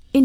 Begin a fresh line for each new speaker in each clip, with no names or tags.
verscheen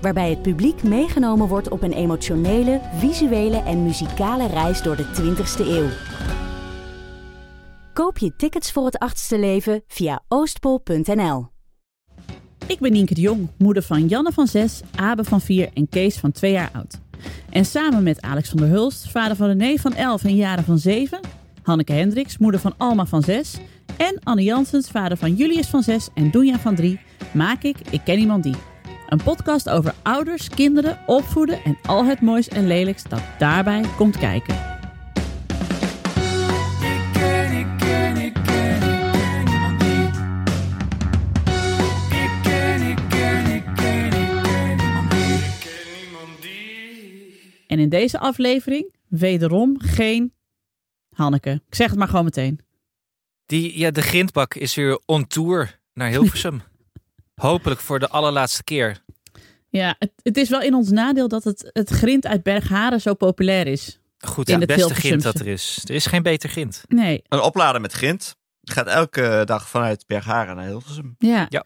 Waarbij het publiek meegenomen wordt op een emotionele, visuele en muzikale reis door de 20ste eeuw. Koop je tickets voor het achtste leven via oostpol.nl.
Ik ben Nienke de Jong, moeder van Janne van 6, Abe van 4 en Kees van 2 jaar oud. En samen met Alex van der Hulst, vader van René van 11 en Jaren van 7, Hanneke Hendricks, moeder van Alma van 6 en Anne Jansens, vader van Julius van 6 en Doenja van 3, maak ik Ik Ken Iemand Die. Een podcast over ouders, kinderen, opvoeden en al het moois en lelijks dat daarbij komt kijken.
Ik ken, ik ken, ik ken, ik ken iemand niet. Ik ken, ik ken, ik ken, ik ken iemand niet. Ik ken niemand die.
En in deze aflevering wederom geen Hanneke. Ik zeg het maar gewoon meteen.
Die, ja, de grindbak is weer on tour naar Hilversum. Hopelijk voor de allerlaatste keer.
Ja, het, het is wel in ons nadeel dat het, het grind uit Bergharen zo populair is.
Goed,
In
ja,
het
het beste
Hilversumse.
grind dat er is. Er is geen beter grind.
Nee,
Een oplader met grind. Gaat elke dag vanuit Bergharen naar Hilversum.
ja.
Ja.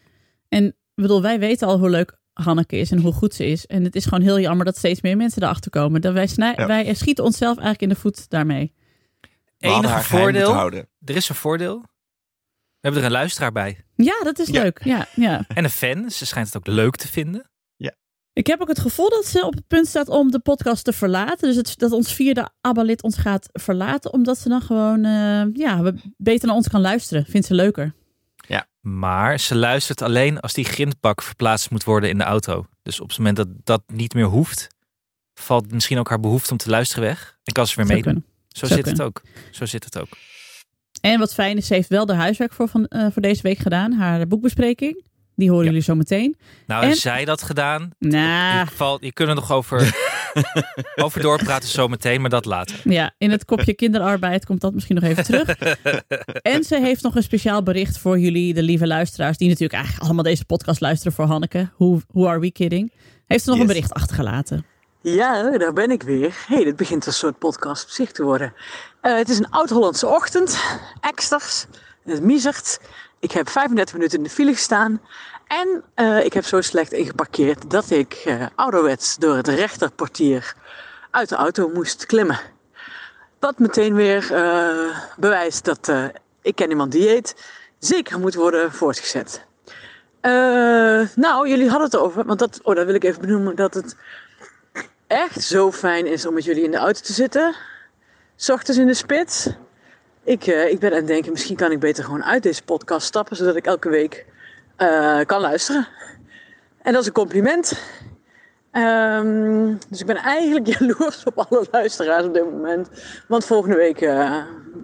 En ik bedoel, wij weten al hoe leuk Hanneke is en hoe goed ze is. En het is gewoon heel jammer dat steeds meer mensen erachter komen. Dat wij, snij,
Ja.
wij schieten onszelf eigenlijk in de voet daarmee.
We hadden
Enige
haar geheim moeten
voordeel,
houden.
er is een voordeel. We hebben er een luisteraar bij.
Ja, dat is
Ja.
leuk. Ja, ja.
En een fan. Ze schijnt het ook leuk te vinden.
Ik heb ook het gevoel dat ze op het punt staat om de podcast te verlaten. Dus het, dat ons vierde ABBA-lid ons gaat verlaten. Omdat ze dan gewoon eh, ja, we- beter naar ons kan luisteren. Vindt ze leuker.
Maar ze luistert alleen als die grindbak verplaatst moet worden in de auto. Dus op het moment dat dat niet meer hoeft, valt misschien ook haar behoefte om te luisteren weg. En kan ze weer
Zou
meedoen.
kunnen.
Zo
Zou
zit het ook. Zo zit het ook.
En wat fijn is, ze heeft wel de huiswerk voor, van, eh, voor deze week gedaan. Haar boekbespreking. Die horen
Ja.
jullie zo meteen.
Nou,
En-
heeft zij dat gedaan?
Nou,
Ik val, je kunnen nog over, over doorpraten zometeen, maar dat later.
ja, in het kopje kinderarbeid komt dat misschien nog even terug. en ze heeft nog een speciaal bericht voor jullie, de lieve luisteraars. Die natuurlijk eigenlijk allemaal deze podcast luisteren voor Hanneke. Who, who are we kidding? Heeft ze nog
Yes.
een bericht achtergelaten.
Ja, daar ben ik weer. hey, dit begint een soort podcast op zich te worden. Eh, het is een oud-Hollandse ochtend. Eksters, het miezert. Ik heb 35 minuten in de file gestaan. En eh, ik heb zo slecht ingeparkeerd dat ik eh, ouderwets door het rechterportier uit de auto moest klimmen. Wat meteen weer eh, bewijst dat eh, ik ken iemand die eet zeker moet worden voortgezet. Eh, nou, jullie hadden het over, want dat, oh, dat wil ik even benoemen, dat het echt zo fijn is om met jullie in de auto te zitten. 's ochtends in de spits. Ik, eh, ik ben aan het denken, misschien kan ik beter gewoon uit deze podcast stappen, zodat ik elke week eh, kan luisteren. En dat is een compliment. Ehm, dus ik ben eigenlijk jaloers op alle luisteraars op dit moment. Want volgende week eh,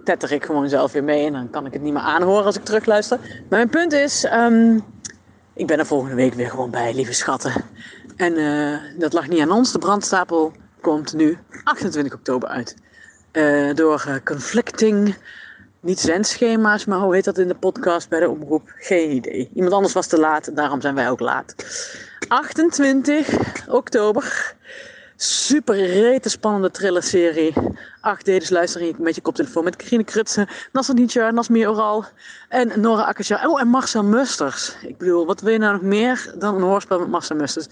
tetter ik gewoon zelf weer mee en dan kan ik het niet meer aanhoren als ik terugluister. Maar mijn punt is, ehm, ik ben er volgende week weer gewoon bij, lieve schatten. En eh, dat lag niet aan ons. De brandstapel komt nu 28 oktober uit. Eh, door eh, conflicting, niet zendschema's, maar hoe heet dat in de podcast bij de omroep? Geen idee. Iemand anders was te laat, daarom zijn wij ook laat. 28 oktober. Super rete spannende thrillerserie. Acht dedes luisteren met je koptelefoon met Karine Krutsen, Nasser Nietzsche, Nasmir Oral en Nora Akkertja. Oh, en Marcel Musters. Ik bedoel, wat wil je nou nog meer dan een hoorspel met Marcel Musters?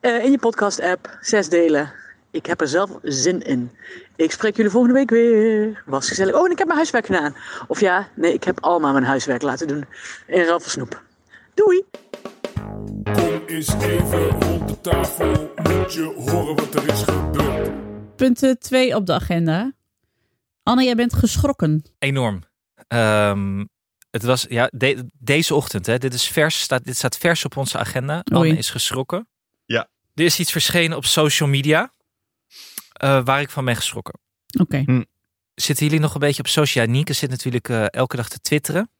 Eh, in je podcast-app, zes delen. Ik heb er zelf zin in. Ik spreek jullie volgende week weer. Was gezellig. Oh, en ik heb mijn huiswerk gedaan. Of ja, nee, ik heb allemaal mijn huiswerk laten doen. In ruil voor snoep. Doei!
Kom eens even rond de tafel. Moet je horen wat er is gebeurd.
Punt 2 op de agenda. Anne, jij bent geschrokken.
Enorm. Ehm, het was ja, de- deze ochtend. Hè, dit, is vers, staat, dit staat vers op onze agenda.
Oei.
Anne is geschrokken.
Ja.
Er is iets verschenen op social media eh, waar ik van ben geschrokken.
Oké.
Zitten jullie nog een beetje op social? Ja, Nienke zit natuurlijk eh, elke dag te twitteren.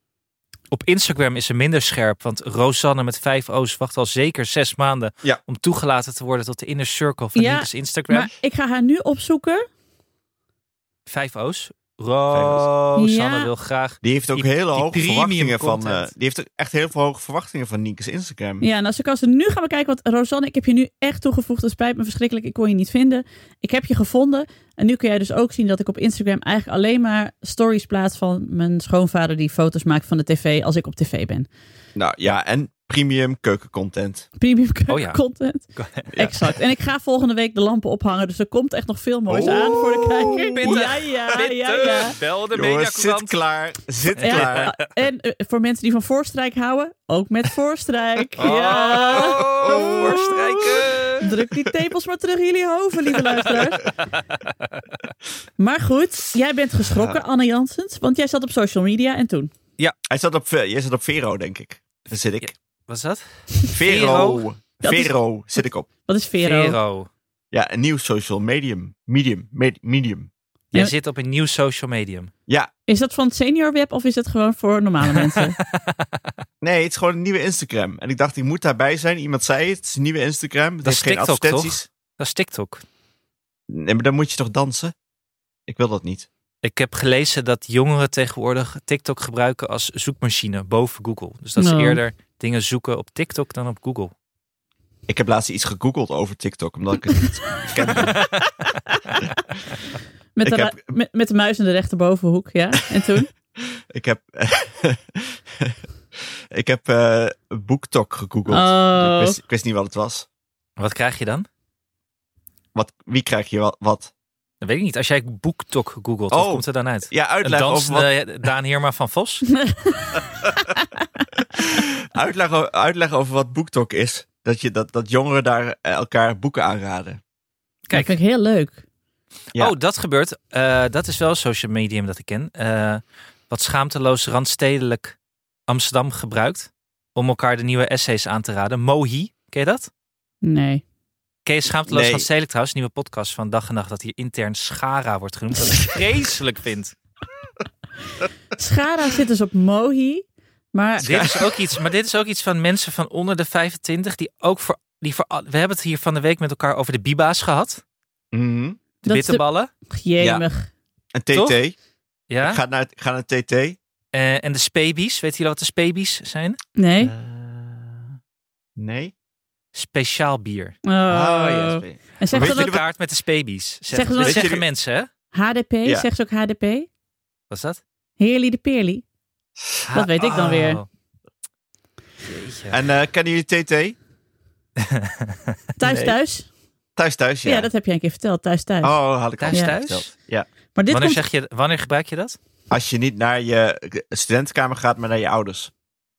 Op Instagram is ze minder scherp, want Rosanne met vijf O's wacht al zeker zes maanden
Ja.
om toegelaten te worden tot de inner circle van
Ja,
Nienke's Instagram.
Maar ik ga haar nu opzoeken.
Vijf O's. Rosanne
Ja.
wil graag.
Die heeft ook
Die-
hele
die
hoge
premium
verwachtingen van. eh,
content.
die heeft ook echt heel veel hoge verwachtingen van Nieke's Instagram.
Ja, en als ik als ze nu gaan bekijken, want Rosanne, ik heb je nu echt toegevoegd. Het spijt me verschrikkelijk, ik kon je niet vinden. Ik heb je gevonden. En nu kun jij dus ook zien dat ik op Instagram eigenlijk alleen maar stories plaats van mijn schoonvader die foto's maakt van de tv als ik op tv ben.
Nou ja, en premium keukencontent.
Premium
Oh ja.
content. Exact. En ik ga volgende week de lampen ophangen, dus er komt echt nog veel moois aan voor de kijker.
pittig.
Ja, ja,
Witte,
Ah, ja, ja.
Bel de
Jongens, zit
mediacourant.
klaar. Zit
Ja,
klaar.
en eh, voor mensen die van Voorstrijk houden, ook met Voorstrijk.
Oh,
Ja.
Oh,
voorstrijken.
Druk die tepels maar terug in jullie hoven, lieve luisteraars. Maar goed, jij bent geschrokken, Anne Jansens. Want jij zat op social media en toen.
Hij zat op, eh, jij zat op Vero, denk ik. Daar zit ik.
Wat is dat?
Vero.
Dat is-
Vero zit ik op.
Wat is Vero?
Vero.
Ja, een nieuw social medium. Medium. Med- medium.
Jij
Ja.
zit op een nieuw social medium.
Ja,
Is dat van het senior web of is dat gewoon voor normale mensen?
nee, het is gewoon een nieuwe Instagram. En ik dacht, ik moet daarbij zijn. Iemand zei het, het is een nieuwe Instagram. Het
Dat
heeft
is
geen
TikTok, toch?
advertenties.
Dat is TikTok.
Nee, maar dan moet je toch dansen? Ik wil dat niet.
Ik heb gelezen dat jongeren tegenwoordig TikTok gebruiken als zoekmachine boven Google. Dus dat ze
Oh.
eerder dingen zoeken op TikTok dan op Google.
Ik heb laatst iets gegoogeld over TikTok, omdat ik het niet kende.
Met, de,
Ik
ra-
heb-
met, met de muis in de rechterbovenhoek, ja. En toen?
Ik heb, ik heb eh BookTok gegoogeld.
Oh.
Ik, wist, ik wist niet wat het was.
Wat krijg je dan?
Wat, wie krijg je wa- wat?
Dat weet ik niet. Als jij BookTok googelt, wat
Oh.
komt er dan uit?
Ja,
Een
uitleg over wat,
dansende Daan Heerma van Vos?
uitleg, o- uitleg over wat BookTok is. Dat, je, dat, dat jongeren daar eh, elkaar boeken aanraden.
Kijk.
Dat vind ik heel leuk.
Ja.
Oh, dat gebeurt. Eh, dat is wel een social medium dat ik ken. Eh, wat schaamteloos randstedelijk Amsterdam gebruikt. Om elkaar de nieuwe essays aan te raden. Mohi, ken je dat?
Nee.
Ken je Schaamteloos
Nee.
Randstedelijk trouwens? Nieuwe podcast van Dag en Nacht. Dat hier intern Schara wordt genoemd. Dat ik vreselijk vind.
Schara zit dus op Mohi. Maar
Dit is ook iets, maar dit is ook iets van mensen van onder de 25 die ook voor, die voor al- we hebben het hier van de week met elkaar over de biba's gehad,
Mhm.
de
Dat is de-
bitterballen,
jemig.
En TT.
Toch? ja,
Ga, naar, ga naar TT.
Eh, en de spabies. Weet jullie wat de spabies zijn?
Nee?
Eh, Nee?
Speciaal bier.
Oh.
Oh, ja.
En
Zeg
zegt ze
Met
dan
de
ook
kaart met de spabies. Zeg,
Zeggen ze
dit
dat-
zeggen mensen, hè?
HDP?
Ja.
Zegt ze ook HDP?
Wat is dat?
Heerly de Peerly? Dat weet ik dan weer.
Oh. Jeetje.
En eh, kennen jullie TT?
Thuis
Nee.
thuis?
Thuis, thuis, ja.
Ja, dat heb jij een keer verteld. Thuis thuis.
Oh, had ik al
Thuis,
eens
thuis?
verteld. Ja.
Maar dit komt
wanneer, zeg je, wanneer gebruik je dat?
Als je niet naar je studentenkamer gaat, maar naar je ouders.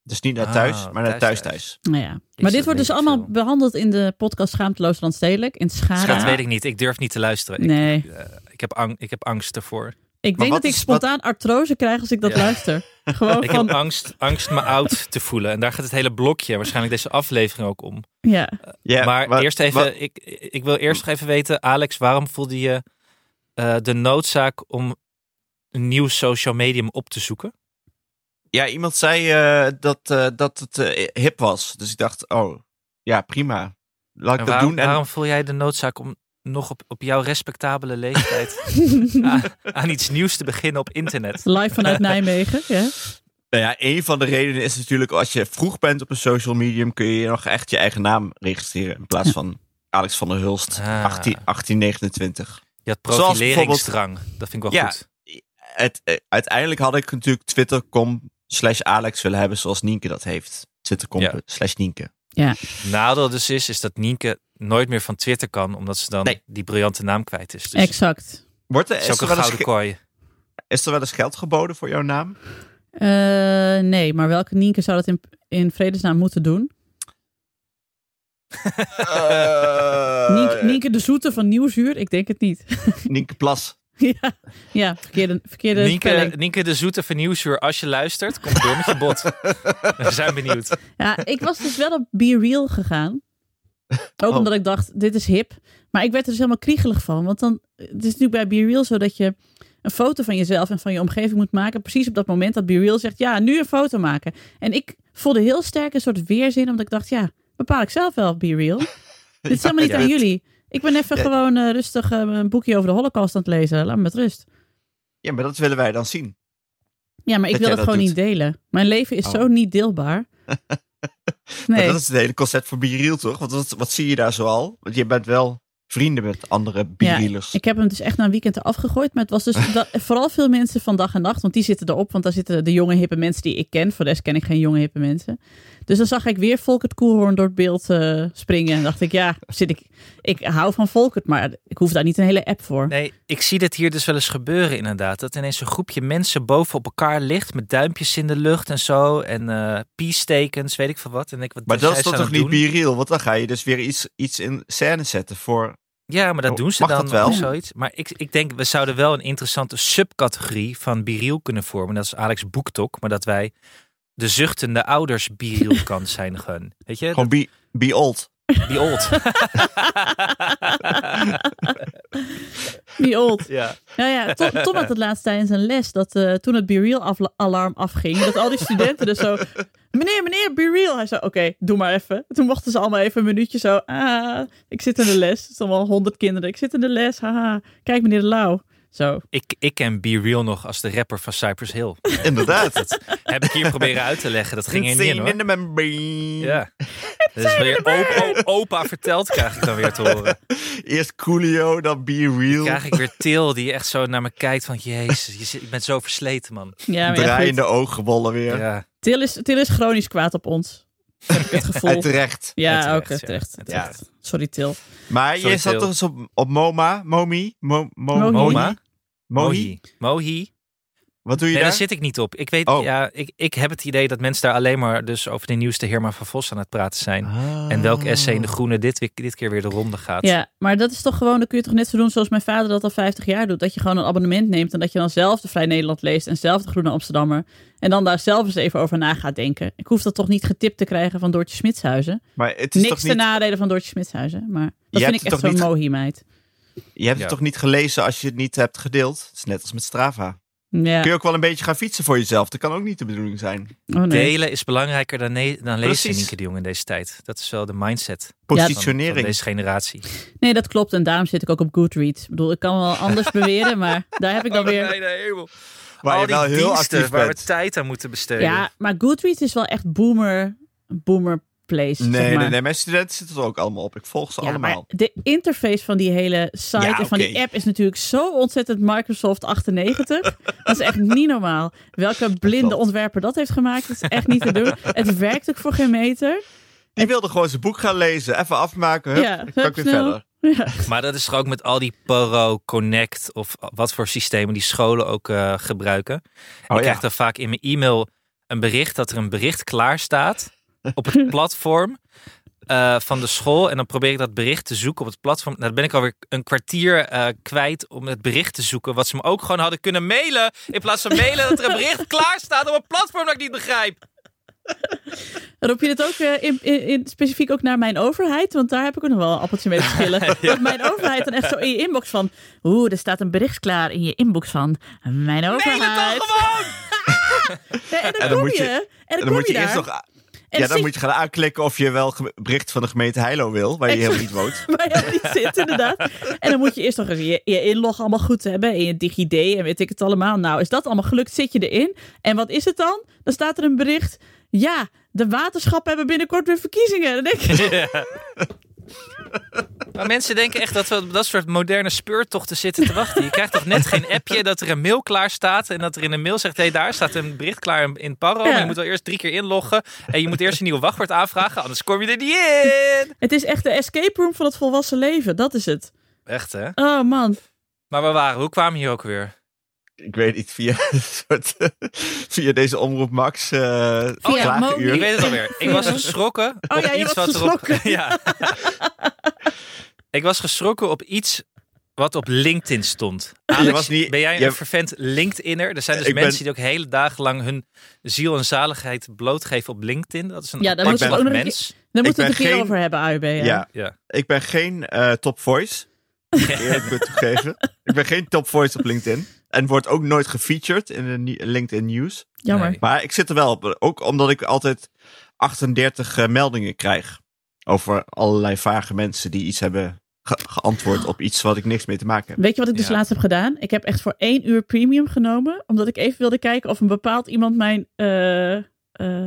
Dus niet naar
Ah,
thuis, maar
thuis,
naar thuis,
thuis.
thuis.
Nou ja. Maar dit
dat
wordt dus
weet ik
allemaal
veel.
behandeld in de podcast Schaamteloos Landstedelijk. In Schara.
Dat weet ik niet. Ik durf niet te luisteren. Ik-
Ah. Nee.
Ik, heb ang- ik heb angst ervoor.
Ik denk
wat
dat ik
is-
spontaan artrose krijg als ik dat
Ja.
luister. Gewoon
Ik heb
van...
angst, angst me oud te voelen. En daar gaat het hele blokje, waarschijnlijk deze aflevering ook om.
Ja.
Ja,
maar
wa-
eerst
wa-
even, ik, ik wil eerst nog even weten, Alex, waarom voelde je eh, de noodzaak om een nieuw social medium op te zoeken?
ja, iemand zei eh, dat, eh, dat het eh, hip was. Dus ik dacht, oh, ja, prima. Laat ik
En
dat
waarom,
doen. En
waarom voel jij de noodzaak om nog op, op jouw respectabele leeftijd aan, aan iets nieuws te beginnen op internet?
Live vanuit Nijmegen. Ja.
Nou ja, een van de redenen is natuurlijk, als je vroeg bent op een social medium, kun je nog echt je eigen naam registreren. In plaats van Alex van der Hulst,
Ah.
18, 1829.
Je had
Zoals
profileringsdrang. Dat vind ik wel
Ja.
goed.
Het, eh, uiteindelijk had ik natuurlijk twitter.com slash Alex willen hebben, zoals Nienke dat heeft. Twitter.com
Ja.
slash Nienke.
Nadeel dus is, is dat Nienke nooit meer van Twitter kan, omdat ze dan
Nee. Eh,
die briljante naam kwijt is. Dus
Exact.
Wordt er,
het
is,
is ook
er
een
wel eens,
gouden kooi.
ge- is er wel eens geld geboden voor jouw naam?
Eh, nee, maar welke Nienke zou dat in, in vredesnaam moeten doen?
Eh,
Nienke, Nienke de Zoete van Nieuwzuur? Ik denk het niet.
Eh, Nienke Plas.
ja. ja, verkeerde, verkeerde
Nienke,
spelling.
Nienke de Zoete van Nieuwsuur, als je luistert, kom door met je bot. We zijn benieuwd.
Ja, ik was dus wel op Be Real gegaan. Ook
Oh.
omdat ik dacht, dit is hip. Maar ik werd er dus helemaal kriegelig van. Want dan, het is nu bij Be Real zo dat je een foto van jezelf en van je omgeving moet maken. Precies op dat moment dat BeReal zegt, ja, nu een foto maken. En ik voelde heel sterk een soort weerzin, omdat ik dacht, ja, bepaal ik zelf wel, BeReal. Dit is helemaal niet
ja,
aan
dit-
jullie. Ik ben even
Ja.
gewoon eh, rustig eh, een boekje over de holocaust aan het lezen. Laat me met rust.
Ja, maar dat willen wij dan zien.
Ja, maar ik
Dat
wil
jij
dat,
dat
gewoon
doet.
niet delen. Mijn leven is
Oh.
zo niet deelbaar.
Maar
Nee,
dat is het hele concept voor Biriel, toch? Want wat, wat zie je daar zoal? Want je bent wel vrienden met andere Birielers.
ik heb hem dus echt na een weekend eraf gegooid. Maar het was dus dat- vooral veel mensen van dag en nacht. Want die zitten erop. Want daar zitten de jonge hippe mensen die ik ken. Voor de rest ken ik geen jonge hippe mensen. Dus dan zag ik weer Volkert Koelhoorn door het beeld eh, springen. En dacht ik, ja, zit ik, ik hou van Volkert. Maar ik hoef daar niet een hele app voor.
Nee, ik zie dit hier dus wel eens gebeuren inderdaad. Dat ineens een groepje mensen boven op elkaar ligt met duimpjes in de lucht en zo. En eh peace-tekens, weet ik veel wat. En ik, wat
maar
zijn
dat is
ze
dan
aan
toch
het
niet
doen?
Biriel? Want dan ga je dus weer iets, iets in scène zetten voor...
Ja, maar dat
Oh,
doen ze
mag
dan
dat wel?
of zoiets. Maar ik, ik denk, we zouden wel een interessante subcategorie van biriel kunnen vormen. Dat is Alex Boektok. Maar dat wij de zuchtende ouders biriel kan zijn gewoon. Weet je,
Gewoon be, be old.
Dat- die old.
Die old.
ja.
Nou ja, Tom, Tom had het laatst tijdens een les dat eh, toen het BeReal-alarm afging, dat al die studenten dus zo. Meneer, meneer, BeReal. Hij zei: Oké, doe maar even. Toen mochten ze allemaal even een minuutje zo. Ah, ik zit in de les. Het is allemaal honderd kinderen. Ik zit in de les. Haha. Kijk, meneer de Lauw. Zo.
Ik, ik ken biriel nog als de rapper van Cypress Hill.
Inderdaad.
Heb ik hier proberen uit te leggen. Dat ging er niet in hoor.
the membrane.
Ja. Dat is weer opa, opa verteld krijg ik dan weer te horen.
Eerst Coolio, dan Be Real.
Krijg ik weer Til die echt zo naar me kijkt van... Jezus, je, zit- je bent zo versleten man.
Ja, maar ja,
Draaiende
goed.
oogbollen weer.
Ja,
Til is, Til is chronisch kwaad op ons. Heb ik het
En
gevoel.
terecht.
Ja,
Terecht,
ook
ja.
terecht.
Ja.
terecht. Sorry, Til.
Maar
Sorry,
je zat
Til.
toch eens op, op MoMA? Momi? Mo, mo,
Mohi.
Moma?
Mohi?
Mohi. Mohi.
Wat doe je
Nee, daar
daar?
zit ik niet op. Ik weet,
Oh.
ja, ik, ik heb het idee dat mensen daar alleen maar dus over de nieuwste Herman van Vos aan het praten zijn.
Ah.
En welk essay in de groene dit, wi- dit keer weer de ronde gaat.
Ja, maar dat is toch gewoon, dan kun je toch net zo doen zoals mijn vader dat al 50 jaar doet. Dat je gewoon een abonnement neemt en dat je dan zelf de Vrij Nederland leest en zelf de Groene Amsterdammer. En dan daar zelf eens even over na gaat denken. Ik hoef dat toch niet getipt te krijgen van Doortje Smitshuizen.
Maar het is
Niks
toch
te
niet,
nadelen van Doortje Smitshuizen, maar dat
Je
vind
hebt
ik
het
echt
toch
zo'n mohi
niet-
meid.
je hebt het
Ja.
toch niet gelezen als je het niet hebt gedeeld? Het is net als met Strava.
Ja,
Kun je ook wel een beetje gaan fietsen voor jezelf. Dat kan ook niet de bedoeling zijn.
oh nee.
Delen is belangrijker dan, ne- dan lezen,
Precies.
Nienke de Jong, in deze tijd. Dat is wel de mindset van, van
Positionering.
deze generatie.
nee, dat klopt en daarom zit ik ook op Goodreads. Ik bedoel, ik kan wel anders beweren, maar daar heb ik
Oh,
dan weer...
waar
Al
je
die
wel heel
diensten
actief
waar
bent.
we tijd aan moeten besteden.
Ja, maar Goodreads is wel echt boomer, boomer place. zeg
Nee,
maar.
nee, nee. Mijn studenten zitten er ook allemaal op. Ik volg ze
Ja, maar
allemaal.
de interface van die hele site
Ja,
en van die
oké.
app is natuurlijk zo ontzettend Microsoft 98. dat is echt niet normaal. Welke blinde
Klopt.
ontwerper dat heeft gemaakt, dat is echt niet te doen. Het werkt ook voor geen meter.
Die wilde gewoon zijn boek gaan lezen. Even afmaken. Hup,
Ja,
dan kan
hup, nou.
ik weer
snel.
verder.
Maar dat is toch ook met al die Poro, Connect of wat voor systemen die scholen ook eh, gebruiken. ik
Oh, ja.
krijg dan vaak in mijn e-mail een bericht dat er een bericht klaar staat op het platform eh, van de school. En dan probeer ik dat bericht te zoeken op het platform. Nou, dan ben ik alweer een kwartier eh, kwijt om het bericht te zoeken. Wat ze me ook gewoon hadden kunnen mailen. In plaats van mailen dat er een bericht klaar staat op een platform dat ik niet begrijp.
Roep je dit ook eh, in, in, in- specifiek ook naar mijn overheid? Want daar heb ik ook nog wel een appeltje mee te schillen. Dat mijn overheid dan echt zo in je inbox van... Oeh, er staat een bericht klaar in je inbox van... Mijn overheid. Ja, en dan,
En dan
kom
moet
je,
je-
en dan,
En
kom
dan moet je
daar.
eerst nog...
en
Ja, dan
zit-
moet je gaan aanklikken of je wel ge- bericht van de gemeente Heilo wil, waar je
Exact.
helemaal niet woont.
waar je niet zit, inderdaad. En dan moet je eerst nog eens je, je inlog allemaal goed hebben. En je DigiD en weet ik het allemaal. Nou, is dat allemaal gelukt? Zit je erin? En wat is het dan? Dan staat er een bericht. Ja, de waterschappen hebben binnenkort weer verkiezingen. Dan denk ik,
Maar mensen denken echt dat we op dat soort moderne speurtochten zitten te wachten. Je krijgt toch net geen appje dat er een mail klaar staat. En dat er in een mail zegt, hé, hey, daar staat een bericht klaar in- in Paro.
Ja.
Maar je moet wel eerst drie keer inloggen. En je moet eerst een nieuwe wachtwoord aanvragen, anders kom je er niet in.
het is echt de escape room van het volwassen leven. Dat is het.
Echt, hè?
Oh man.
Maar we waren, hoe kwamen we hier ook weer?
Ik weet niet, via, een soort, via deze Omroep Max eh klagenuur.
Ik weet het alweer. Ik was geschrokken
Oh
op
ja, je
iets
was
wat erop...
geschrokken.
Ja. Ik was geschrokken op iets wat op LinkedIn stond. Alex,
was niet-
ben jij
je-
een vervent LinkedInner? Er zijn dus
Ik ben-
mensen die ook hele dagen lang hun ziel en zaligheid blootgeven op LinkedIn. Dat is een
Ja, daar
apart
moeten we
soort
ook nog een
mens.
Daar
Ik
moeten we het
ben
een keer
geen-
over hebben, AUB. Ja.
ja.
Ja.
ik ben geen eh, top voice. Eerlijk moet toegeven. Ik ben geen top voice op LinkedIn. En wordt ook nooit gefeatured in de ni- LinkedIn News.
Jammer.
Nee.
Maar ik zit er wel op. Ook omdat ik altijd 38 eh, meldingen krijg. Over allerlei vage mensen die iets hebben ge- geantwoord op iets wat ik niks mee te maken heb.
Weet je wat ik dus
Ja.
laatst heb gedaan? Ik heb echt voor één uur premium genomen. Omdat ik even wilde kijken of een bepaald iemand mijn eh, eh,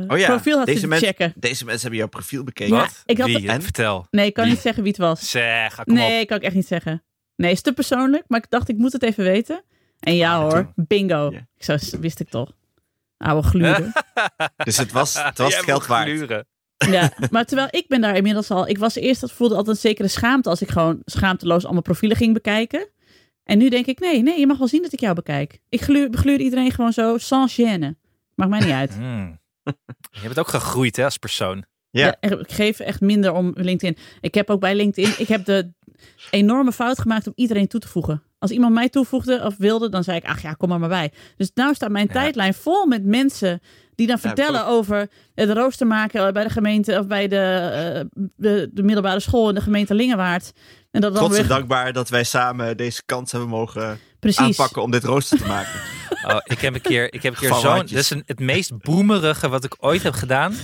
Oh ja,
profiel had
deze
zitten
mensen-
checken.
Deze mensen hebben jouw profiel bekeken.
Ja,
Wat?
ik had
Wie?
en?
Vertel.
Nee, ik kan
Wie?
niet zeggen wie het was.
Zeg, ah, kom
nee,
op.
kan ik echt niet zeggen. Nee, is te persoonlijk. Maar ik dacht, ik moet het even weten. En ja hoor, bingo.
Ja.
Ik zo wist ik toch. Oude gluren.
Dus het was het, was
Jij
het geld
moet
waard.
gluren.
Ja, maar terwijl ik ben daar inmiddels al. Ik was eerst dat voelde altijd een zekere schaamte als ik gewoon schaamteloos allemaal profielen ging bekijken. En nu denk ik, nee, nee, je mag wel zien dat ik jou bekijk. Ik gluur, begluur iedereen gewoon zo sans gêne. Maakt mij niet uit.
Hmm. Je bent ook gegroeid hè, als persoon.
Ja.
Ja, er- ik geef echt minder om LinkedIn. Ik heb ook bij LinkedIn, ik heb de enorme fout gemaakt om iedereen toe te voegen. Als iemand mij toevoegde of wilde, dan zei ik, ach ja, kom er maar bij. Dus nu staat mijn
Ja.
tijdlijn vol met mensen die dan vertellen over het rooster maken eh, bij de gemeente of bij de, eh, de, de middelbare school in de gemeente Lingewaard. En dat dan
Trots en
weer
dankbaar dat wij samen deze kans hebben mogen
precies.
aanpakken om dit rooster te maken.
Oh, ik heb een keer, ik heb een keer
Gevallen
zo'n.
handjes.
Dit is een, het meest boemerige wat ik ooit heb gedaan.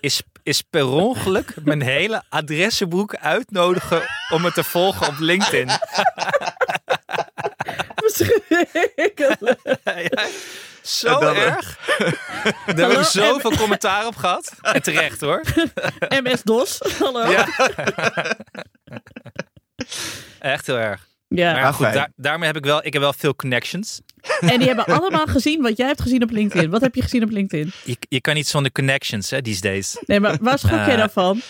Is, is per ongeluk mijn hele adressenboek uitnodigen om me te volgen op LinkedIn.
Verschrikkelijk.
Ja, zo
En dan, eh,
erg. Daar hebben
Hallo,
we zoveel commentaar op gehad. En terecht hoor.
MS DOS. Hallo.
Ja. Echt heel erg.
Ja.
Maar goed,
fijn.
daar- daarmee heb ik wel, ik heb wel veel connections.
En die hebben allemaal gezien wat jij hebt gezien op LinkedIn. Wat heb je gezien op LinkedIn?
Je, je kan niet zonder connections, hè, these days. Oké,
Nee, maar waar schrok jij
Eh,
dan van?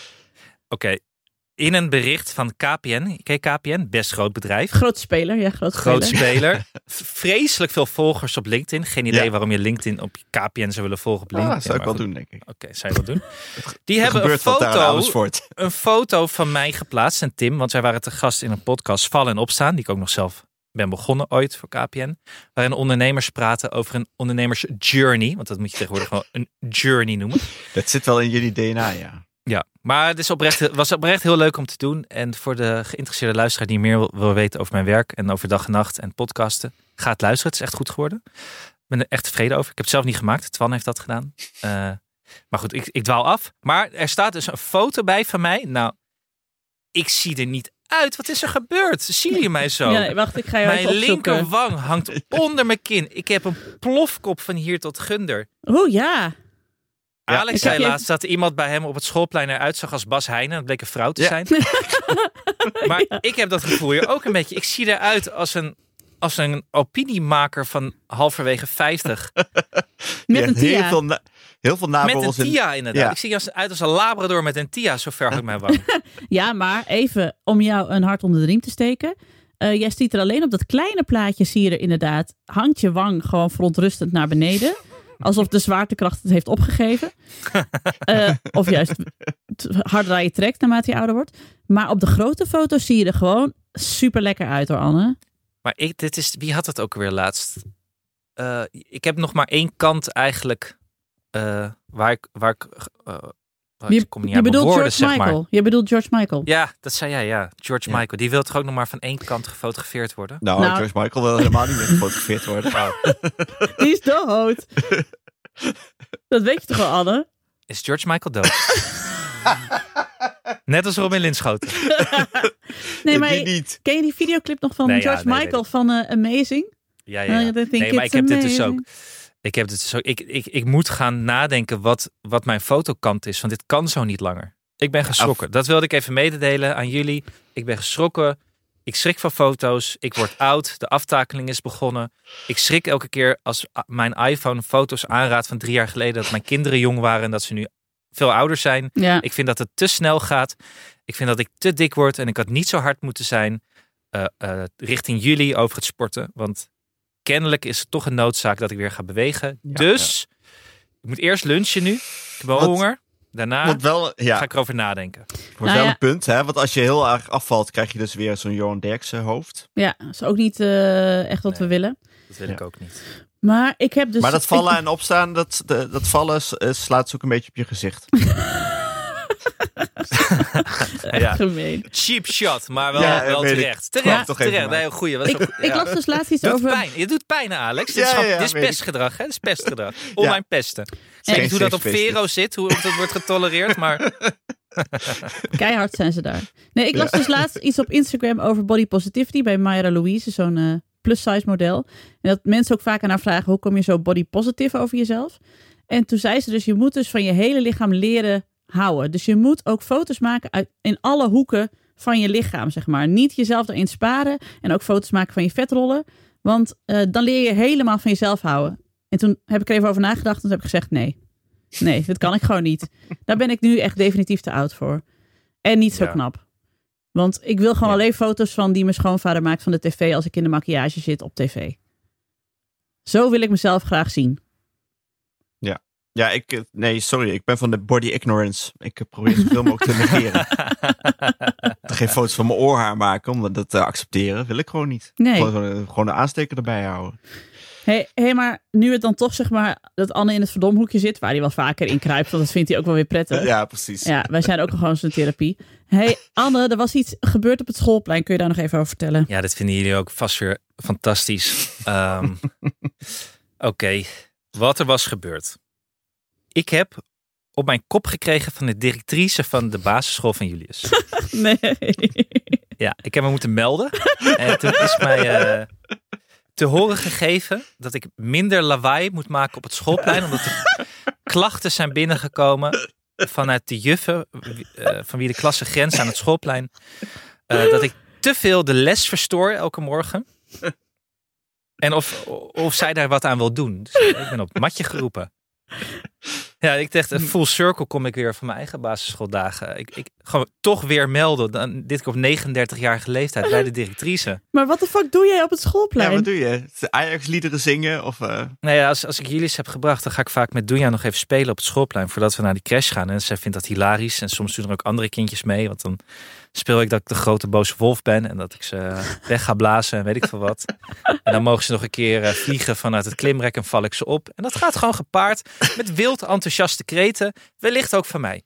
in een bericht van KPN. Ken je KPN? Best groot bedrijf.
Grote speler, ja, grote
Groot
speler.
speler. V- Vreselijk veel volgers op LinkedIn. Geen idee
Ja.
waarom je LinkedIn op KPN zou willen volgen op
Ah,
LinkedIn.
dat zou ik
maar
wel
goed.
doen, denk ik.
Oké, zou je wel doen. Die
Er
hebben een
gebeurt wat daar in
foto,
Amersfoort.
een foto van mij geplaatst en Tim, want zij waren te gast in een podcast Vallen en Opstaan, die ik ook nog zelf ben begonnen ooit voor KPN, waarin ondernemers praten over een ondernemersjourney, want dat moet je tegenwoordig gewoon een journey noemen.
Dat zit wel in jullie DNA, ja.
Ja, maar het is oprecht, was oprecht heel leuk om te doen. En voor de geïnteresseerde luisteraar die meer wil, wil weten over mijn werk en over dag en nacht en podcasten, ga het luisteren. Het is echt goed geworden. Ik ben er echt tevreden over. Ik heb het zelf niet gemaakt. Twan heeft dat gedaan. Eh, maar goed, ik, ik dwaal af. Maar er staat dus een foto bij van mij. Nou, ik zie er niet uit. Wat is er gebeurd? Zie je mij zo?
Ja, nee, wacht, ik ga jou even
mijn
opzoeken.
linkerwang hangt onder mijn kin. Ik heb een plofkop van hier tot gunder.
Oeh, ja.
Ja,
Alex
ik
zei
heb je-
laatst dat iemand bij hem op het schoolplein eruit zag als Bas Heijnen. Dat bleek een vrouw te
Ja.
zijn. maar ik heb dat gevoel hier ook een beetje. Ik zie eruit als een, als een opiniemaker van halverwege 50.
Met
Ja,
een
Heel
tia.
veel, na- heel veel
Met een
naborrels in-
tia inderdaad.
Ja.
Ik zie als, uit als een labrador met een tia. Zo ver had ik mijn wang.
Ja, maar even om jou een hart onder de riem te steken. Eh, jij ziet er alleen op dat kleine plaatje, zie je er inderdaad. Hangt je wang gewoon verontrustend naar beneden. Alsof de zwaartekracht het heeft opgegeven. Eh, of juist t- harder aan je trekt naarmate je ouder wordt. Maar op de grote foto's zie je er gewoon super lekker uit hoor, Anne.
Maar ik, dit is, wie had dat ook weer laatst? Eh, ik heb nog maar één kant eigenlijk eh, waar ik... Waar ik eh, waar ik
Je,
kom niet
je
aan mijn
bedoelt
woorden,
George
zeg maar.
Michael. Je bedoelt George Michael.
Ja, dat zei jij, ja. George
Ja.
Michael. Die wil toch ook nog maar van één kant gefotografeerd worden?
Nou,
Nou.
George Michael wil helemaal niet meer gefotografeerd worden.
Die is dood. Dat weet je toch wel, Anne?
Is George Michael dood? Net als Robin Linschoten.
Nee, maar
Die niet.
ken je die videoclip nog van
Eh, Nee, ja,
George
nee, weet
Michael van eh, Amazing?
Ja, ja, ja.
I think
Nee, maar ik
it's
heb dit dus
amazing.
ook. Ik, heb dit dus ook ik, ik, ik moet gaan nadenken wat, wat mijn fotokant is. Want dit kan zo niet langer. Ik ben geschrokken. Dat wilde ik even mededelen aan jullie. Ik ben geschrokken. Ik schrik van foto's. Ik word oud. De aftakeling is begonnen. Ik schrik elke keer als a- mijn iPhone foto's aanraadt van drie jaar geleden. Dat mijn kinderen jong waren en dat ze nu veel ouder zijn.
Ja.
Ik vind dat het te snel gaat. Ik vind dat ik te dik word en ik had niet zo hard moeten zijn eh, eh, richting jullie over het sporten. Want kennelijk is het toch een noodzaak dat ik weer ga bewegen. dus ik moet eerst lunchen nu. Ik heb wel
Wat-
honger. Daarna
Wordt wel, ja,
Ah. ga ik erover nadenken.
wordt
Nou
wel
ja.
een punt, hè? Want als je heel erg afvalt, krijg je dus weer zo'n Johan Derksen hoofd.
Ja, is ook niet eh, echt wat
Nee.
we willen.
Dat wil
Ja.
ik ook niet.
Maar ik heb dus.
maar dat vallen
ik-
en opstaan, dat, de- dat vallen s- eh, slaat ze ook een beetje op je gezicht.
Ja.
Gemeen.
Cheap shot, maar wel,
Ja,
wel
weet ik.
terecht.
Kwam
Terecht,
toch even
terecht.
maar.
Nee, een goeie. Was
Ik,
een goeie.
ik las dus laatst iets
Doet
over...
pijn. Je doet pijn, Alex. Dit is,
Ja,
gewoon-
ja,
dit is
weet ik.
pestgedrag, hè? Dit is pestgedrag. Online pesten. Ik weet
Geen
niet hoe dat op
safe space dus.
Vero zit, hoe dat wordt getolereerd, maar
Keihard zijn ze daar. Nee, ik las dus laatst iets op Instagram over body positivity bij Mayra Louise, zo'n eh, plus-size model. En dat mensen ook vaak aan haar vragen, hoe kom je zo body positive over jezelf? En toen zei ze dus, je moet dus van je hele lichaam leren houden. Dus je moet ook foto's maken uit, in alle hoeken van je lichaam, zeg maar. Niet jezelf erin sparen en ook foto's maken van je vetrollen. Want eh, dan leer je helemaal van jezelf houden. En toen heb ik er even over nagedacht en toen heb ik gezegd, nee. Nee, dat kan ik gewoon niet. Daar ben ik nu echt definitief te oud voor. En niet zo
Ja.
knap. Want ik wil gewoon alleen foto's van die mijn schoonvader maakt van de tv als ik in de maquillage zit op tv. Zo wil ik mezelf graag zien.
Ja, ik, eh, nee, sorry. Ik ben van de body ignorance. Ik eh, probeer zoveel mogelijk te negeren. Geen foto's van mijn oorhaar maken, omdat dat te accepteren wil ik gewoon niet.
Nee.
Gewoon, eh, gewoon de aansteker erbij houden.
hey, hey, maar nu het dan toch zeg maar dat Anne in het verdomhoekje zit, waar hij wel vaker in kruipt, want dat vindt hij ook wel weer prettig.
Ja, precies.
Ja, wij zijn ook gewoon zo'n therapie. hey, Anne, er was iets gebeurd op het schoolplein. Kun je daar nog even over vertellen?
ja, dit vinden jullie ook vast weer fantastisch. Ehm, Oké, wat er was gebeurd. Ik heb op mijn kop gekregen van de directrice van de basisschool van Julius.
Nee.
Ja, ik heb me moeten melden. En toen is mij eh, te horen gegeven dat ik minder lawaai moet maken op het schoolplein. Omdat er klachten zijn binnengekomen vanuit de juffen, eh, van wie de klasse grenst aan het schoolplein. eh, dat ik te veel de les verstoor elke morgen. En of, of zij daar wat aan wil doen. Dus ik ben op het matje geroepen. Ja, ik dacht, eh, full circle kom ik weer van mijn eigen basisschooldagen. Ik, ik gewoon toch weer melden. Dan, dit keer op 39-jarige leeftijd bij de directrice.
Maar wat de fuck doe jij op het
Ja,
schoolplein?
wat doe je? Ajax-liederen zingen? Of, eh,
Nou ja, als, als ik jullie heb gebracht, dan ga ik vaak met Doenja nog even spelen op het schoolplein voordat we naar die crash gaan. En zij vindt dat hilarisch. En soms doen er ook andere kindjes mee, want dan speel ik dat ik de grote boze wolf ben en dat ik ze eh, weg ga blazen en weet ik veel wat. En dan mogen ze nog een keer eh, vliegen vanuit het klimrek en val ik ze op. En dat gaat gewoon gepaard met wild enthousiaste kreten, wellicht ook van mij.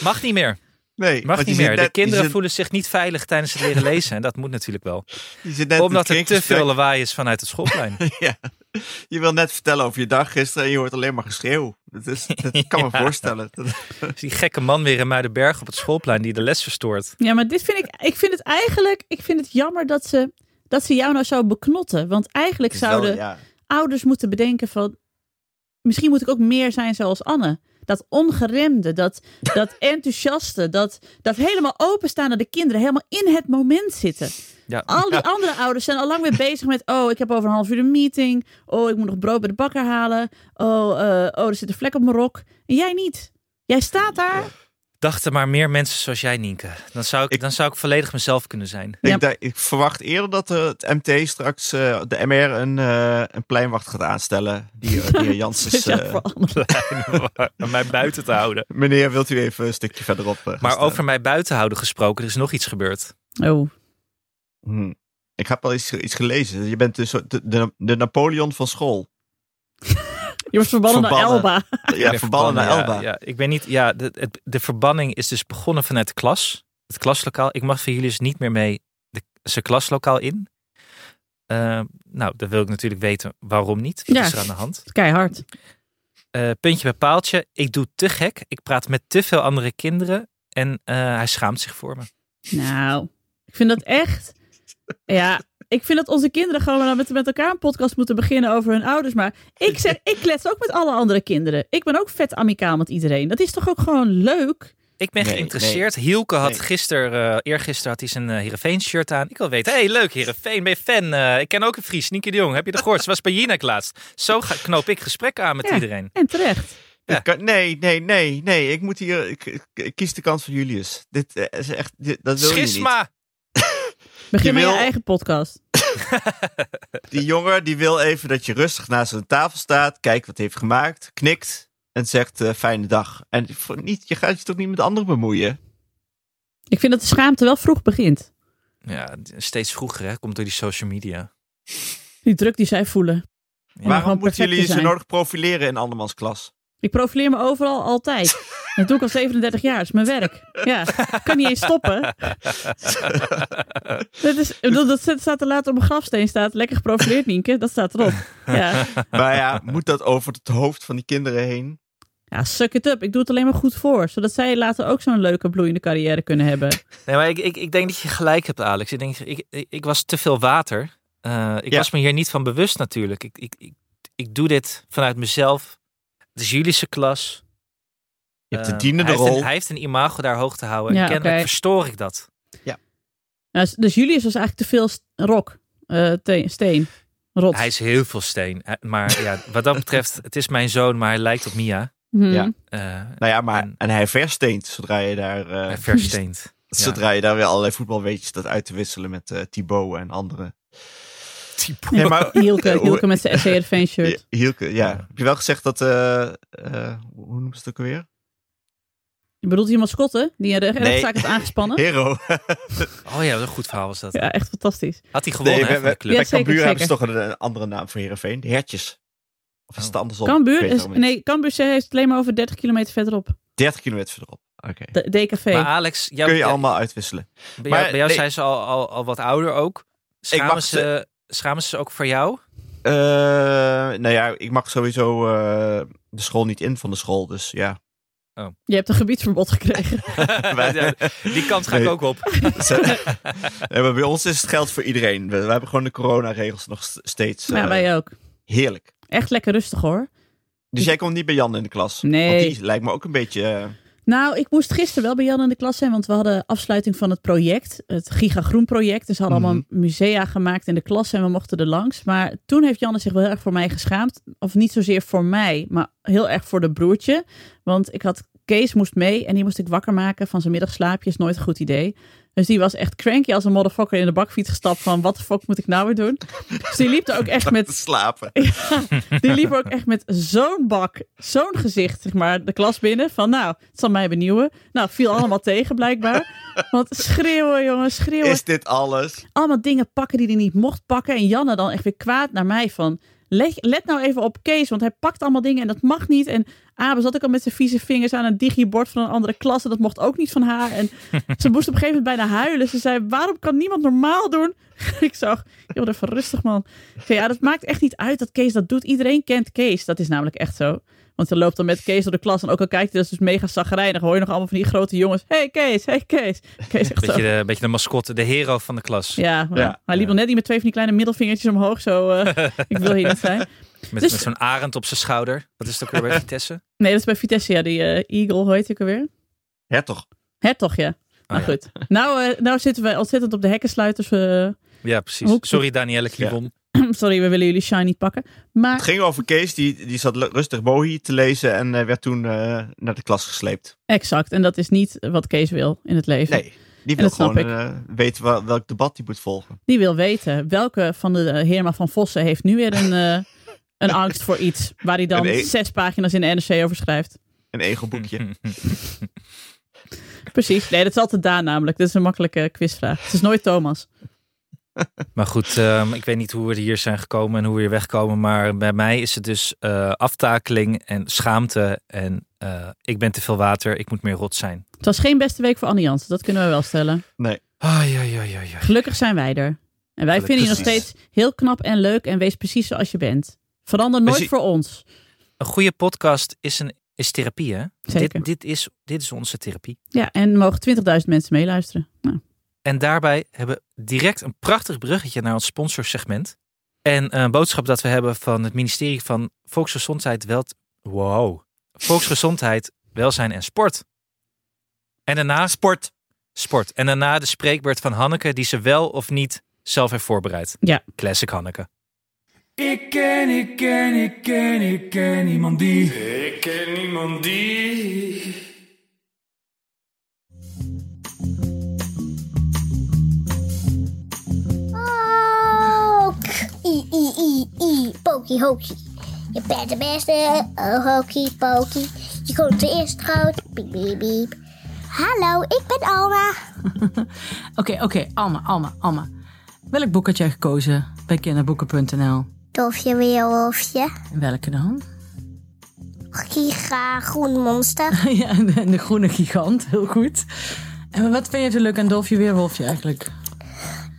Mag niet meer.
nee,
Mag
want je
niet
zit
meer. De
net- je
kinderen
zit-
voelen zich niet veilig tijdens het leren lezen. En dat moet natuurlijk wel.
je zit net
Omdat
met
er te
kringgesprek.
veel lawaai is vanuit het schoolplein.
Ja. Je wil net vertellen over je dag gisteren en je hoort alleen maar geschreeuw. Dat, is, dat kan me voorstellen. Dat-
Dus die gekke man weer in Muidenberg op het schoolplein die de les verstoort.
Ja, maar dit vind ik. Ik vind het eigenlijk. Ik vind het jammer dat ze, dat ze jou nou zo beknotten. Want eigenlijk
is wel,
zouden
ja.
ouders moeten bedenken van. Misschien moet ik ook meer zijn zoals Anne. Dat ongeremde, dat, dat enthousiaste, dat, dat helemaal openstaan naar de kinderen, helemaal in het moment zitten.
Ja.
Al die andere ouders zijn al lang weer bezig met: oh, ik heb over een half uur een meeting. Oh, ik moet nog brood bij de bakker halen. Oh, eh, oh er zit een vlek op mijn rok. En jij niet. Jij staat daar.
Dachten maar meer mensen zoals jij, Nienke. Dan zou ik,
Ik-
dan zou ik volledig mezelf kunnen zijn.
Ja.
Ik, denk- ik verwacht eerder dat eh, het MT straks eh, de MR een, eh, een pleinwacht gaat aanstellen. Die, eh, die Janssens.
Ja,
eh,
voor Anne.
Om mij buiten te houden.
meneer, wilt u even een stukje verderop? eh, gaan
Maar
staan?
over mij buiten houden gesproken, er is nog iets gebeurd.
Oh.
Hm. Ik heb al iets, iets gelezen. Je bent een soort de, de, de Napoleon van school.
Je wordt verbannen,
Verbannen.
naar Elba.
Ik
Ja,
ben
verbannen naar
verbannen,
Elba.
Ja, ja, ik ben niet, ja, de, het- de verbanning is dus begonnen vanuit de klas. Het klaslokaal. Ik mag van jullie dus niet meer mee de, zijn klaslokaal in. Eh, nou, dan wil ik natuurlijk weten waarom niet. Wat
Ja.
is er aan de hand?
Keihard.
eh, puntje bij paaltje. Ik doe te gek. Ik praat met te veel andere kinderen. En eh, hij schaamt zich voor me.
Nou, ik vind dat echt. Ja, ik vind dat onze kinderen gewoon maar met, met elkaar een podcast moeten beginnen over hun ouders. Maar ik, zeg, ik klets ook met alle andere kinderen. Ik ben ook vet amicaal met iedereen. Dat is toch ook gewoon leuk?
Ik ben
Nee,
geïnteresseerd. Hielke had
Nee.
gisteren, eh eergisteren had hij zijn eh Heerenveen shirt aan. Ik wil weten, hey leuk Heerenveen, ben je fan? Eh, ik ken ook een Fries, Nienke de Jong. Heb je dat gehoord? Ze was bij Jinek laatst. Zo ga, knoop ik gesprekken aan met
Ja.
iedereen.
En terecht.
Ja.
Ik kan- nee, nee, nee, nee. Ik moet hier. Ik, ik- ik kies de kant van Julius. Dit eh, is echt. dit- dat wil je niet.
Schisma!
Begin
Je
met je
wil-
eigen podcast.
Die jongen die wil even dat je rustig naast zijn tafel staat, kijkt wat hij heeft gemaakt, knikt en zegt eh, fijne dag. En voor niet, je gaat je toch niet met anderen bemoeien?
Ik vind dat de schaamte wel vroeg begint.
Ja, steeds vroeger hè, komt door die social media.
Die druk die zij voelen.
Ja.
gewoon
Waarom moeten
perfect
jullie je
te
zo
zijn.
nodig profileren in andermans klas?
Ik profileer me overal altijd. Dat doe ik al 37 jaar. Dat is mijn werk. Ja, ik kan niet eens stoppen. Dat, is, ik bedoel, dat staat er later op mijn grafsteen. Staat, lekker geprofileerd, Nienke. Dat staat erop. Ja.
Maar ja, moet dat over het hoofd van die kinderen heen?
ja, suck it up. Ik doe het alleen maar goed voor. Zodat zij later ook zo'n leuke bloeiende carrière kunnen hebben.
Nee, maar ik, ik, ik denk dat je gelijk hebt, Alex. Ik denk, ik, ik, ik was te veel water. Eh, ik
Ja.
was me hier niet van bewust natuurlijk. Ik, ik, ik, ik doe dit vanuit mezelf. Het is Julische klas.
Je hebt de
Eh,
dienende
hij heeft een-
rol.
hij heeft een imago daar hoog te houden.
Ja,
en kennelijk
oké.
verstoor ik dat.
Nou, dus Julius was eigenlijk te veel st- rok. Eh, te- steen. Rot.
Hij is heel veel steen. Eh, Maar ja, wat dat betreft, het is mijn zoon, maar hij lijkt op Mia.
Mhm.
Ja.
Eh
Nou ja, maar
En-
en hij versteent zodra je daar, eh,
hij versteent.
zodra je daar weer allerlei voetbalweetjes dat uit te wisselen met eh Thibaut en anderen. Nee, maar-
Hielke,
Hoe-
Hielke eh, met zijn E SCRV-shirt.
Hielke, ja.
Ja.
Heb je wel gezegd dat, eh, eh, hoe noemen ze het ook alweer?
Je bedoelt iemand Schotten die een re- rechtszaak had aangespannen?
Hero.
Oh ja, wat een goed verhaal was dat.
Ja, echt fantastisch.
Had hij gewonnen
Nee,
hè,
bij,
van de
bij,
club?
Ja,
bij
zeker,
Cambuur hebben ze
zeker.
toch een, een andere naam voor Heerenveen. De hertjes. Of is het andersom? Ik
Cambuur,
weet het
is,
allemaal niet.
nee, Cambuur zegt- heeft het alleen maar over 30 kilometer verderop.
30 kilometer verderop. Oké.
De, DKV.
Maar Alex, jou,
Kun je
ja,
allemaal uitwisselen.
bij
maar
jou, bij jou
nee.
zijn ze al, al, al wat ouder ook.
mag
Schamen
ze-
ze, schamen ze ze ook voor jou?
Eh, nou ja, ik mag sowieso eh, de school niet in van de school. Dus ja,
Je hebt een gebiedsverbod gekregen.
Ja, Die kant ga ik
Nee.
ook op.
Ze- nee, maar bij ons is het geld voor iedereen. We, we hebben gewoon de coronaregels nog st- steeds. eh,
ja, wij ook.
Heerlijk.
Echt lekker rustig hoor.
Dus jij komt niet bij Jan in de klas.
Nee.
Want die lijkt me ook een beetje. eh,
Nou, ik moest gisteren wel bij Jan in de klas zijn, want we hadden afsluiting van het project, het Giga Groen project. Dus ze hadden allemaal musea gemaakt in de klas en we mochten er langs. Maar toen heeft Janne zich wel heel erg voor mij geschaamd. Of niet zozeer voor mij, maar heel erg voor de broertje. Want ik had, Kees moest mee en die moest ik wakker maken van zijn middagslaapje. Is nooit een goed idee. Dus die was echt cranky als een motherfucker in de bakfiets gestapt van wat de fuck moet ik nou weer doen. Dus die liep er ook echt met
te slapen.
die liep ook echt met zo'n bak, zo'n gezicht, zeg maar, de klas binnen. Van nou, het zal mij benieuwen. Nou, viel allemaal tegen blijkbaar. Want schreeuwen, jongen, schreeuwen.
Is dit alles?
Allemaal dingen pakken die hij niet mocht pakken. En Janne dan echt weer kwaad naar mij van... Let, let nou even op Kees, want hij pakt allemaal dingen en dat mag niet. En Abe zat ook al met zijn vieze vingers aan een digibord van een andere klas. En dat mocht ook niet van haar. En ze moest op een gegeven moment bijna huilen. Ze zei, waarom kan niemand normaal doen? ik zag, joh, even rustig man. Ik zei, ja, dat maakt echt niet uit dat Kees dat doet. Iedereen kent Kees. Dat is namelijk echt zo. Want ze loopt dan met Kees door de klas. En ook al kijkt hij, dat is dus mega zagrijnig. Hoor je nog allemaal van die grote jongens. hey Kees, hey Kees. Kees echt zo.
Beetje de, beetje de mascotte, de hero van de klas.
Ja, maar
Ja,
hij liep
ja.
al net niet met twee van die kleine middelvingertjes omhoog. Zo, eh, ik wil hier niet zijn.
Met,
Dus-
met zo'n arend op zijn schouder. Dat is het ook weer bij Vitesse.
Nee, dat is bij Vitesse, ja. Die eh, Eagle, hoe heet ik alweer?
Hertog.
Hertog, ja. Maar
ja.
goed. Nou, eh, nou zitten we ontzettend op de hekkensluiters. eh,
Ja, precies.
Hoek-
Sorry, Danielle Klibon.
sorry, we willen jullie shine niet pakken. Maar
Het ging over Kees, die, die zat lu- rustig Bohi te lezen en eh, werd toen eh, naar de klas gesleept.
exact. En dat is niet wat Kees wil in het leven.
Nee,
En
die wil
dat snap
gewoon eh, weten wel- welk debat die moet volgen.
Die wil weten welke van de eh, Herma van Vossen heeft nu weer een, eh, een angst voor iets. Waar hij dan
Een e-
zes pagina's in de NRC over schrijft.
Een egelboekje.
Precies. Nee, dat is altijd Daan namelijk. Dit is een makkelijke quizvraag. Het is nooit Thomas.
Maar goed, ehm, ik weet niet hoe we hier zijn gekomen en hoe we hier wegkomen. Maar bij mij is het dus eh, aftakeling en schaamte. En eh, ik ben te veel water, ik moet meer rot zijn.
Het was geen beste week voor Annie Jansen. Dat kunnen we wel stellen.
Ai, ai, ai, ai, ai.
Gelukkig zijn wij er. En wij
Gelukkig
vinden je nog
precies.
steeds heel knap en leuk en wees precies zoals je bent. Verander nooit
Precies.
voor ons.
Een goede podcast is, een, is therapie, hè?
Zeker.
Dit, dit, is, dit is onze therapie.
Ja, en mogen 20.000 mensen meeluisteren. Nou,
En daarbij hebben we direct een prachtig bruggetje naar ons sponsorsegment. En een boodschap dat we hebben van het ministerie van Volksgezondheid, Wel... wow. Volksgezondheid Welzijn en Sport. En daarna
Sport.
sport. En daarna de spreekbeurt van Hanneke die ze wel of niet zelf heeft voorbereid.
Ja.
Classic Hanneke.
Ik ken, ik ken, ik ken, ik ken niemand die. Ik ken niemand die.
Ook. I, i, i, i. Pokey, hokey. Je bent de beste. Oh, hokey, pokey. Je komt de eerste groot. Piep, piep, piep. Hallo, ik ben Alma.
Oké, oké, Alma, Alma, Alma. Welk boek had jij gekozen bij kinderboeken.nl?
Dolfje, weerwolfje.
En welke dan?
giga groen monster.
ja, en de, en de groene gigant, heel goed. En wat vind je zo leuk aan Dolfje Weerwolfje eigenlijk?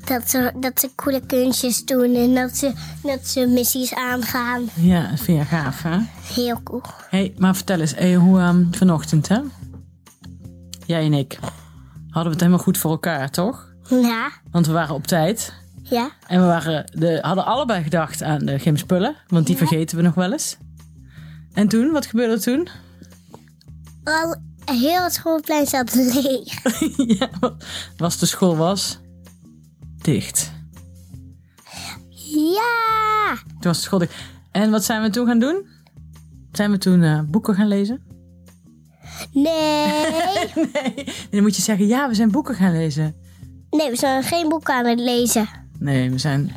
Dat ze, dat ze coole kunstjes doen en dat ze, dat ze missies aangaan.
Ja, dat vind je gaaf, hè?
Heel cool.
hey, maar vertel eens, eh, hoe ehm, vanochtend, hè? Jij en ik hadden we het helemaal goed voor elkaar, toch?
Ja,
Want we waren op tijd
ja,
en we waren de, hadden allebei gedacht aan de gymspullen, want die vergeten we nog wel eens. En toen, wat gebeurde er toen?
al heel het schoolplein zat leeg.
ja, was de school was dicht.
Ja!
Toen was de school dicht. En wat zijn we toen gaan doen? Zijn we toen eh, boeken gaan lezen?
Nee!
Nee. En dan moet je zeggen, ja, we zijn boeken gaan lezen.
Nee, we zijn geen boek aan het lezen.
Nee, we zijn...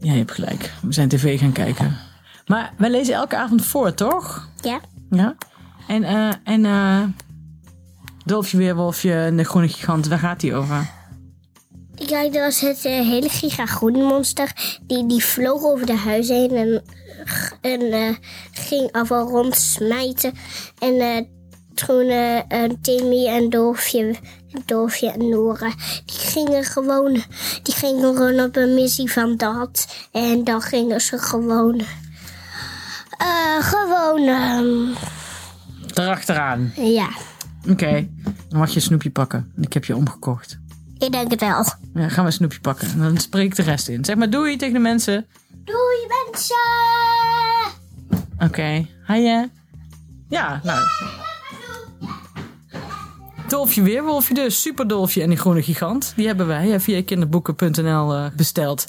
Ja, je hebt gelijk. We zijn tv gaan kijken. Maar wij lezen elke avond voor, toch?
Ja?
Ja. En, eh en eh Dolfje Weerwolfje en de Groene Gigant, waar gaat die over?
Ja, dat was het eh, hele giga groene monster. Die, die vloog over de huis heen en, en eh, ging afval rondsmijten. En eh, toen eh, eh, Timmy en Dolfje, Dolfje en Nora, die gingen, gewoon, die gingen gewoon op een missie van dat. En dan gingen ze gewoon... eh, gewoon, ehm,
Erachteraan.
ja,
Oké. Dan mag je een snoepje pakken. Ik heb je omgekocht.
ik denk het wel.
Ja, gaan we een snoepje pakken. En dan spreek ik de rest in. Zeg maar doei tegen de mensen.
Doei mensen!
Oké. Hi hè. Ja, nou. Dolfje Weerwolfje dus. Super Dolfje en die groene gigant. Die hebben wij eh, via kinderboeken.nl eh, besteld.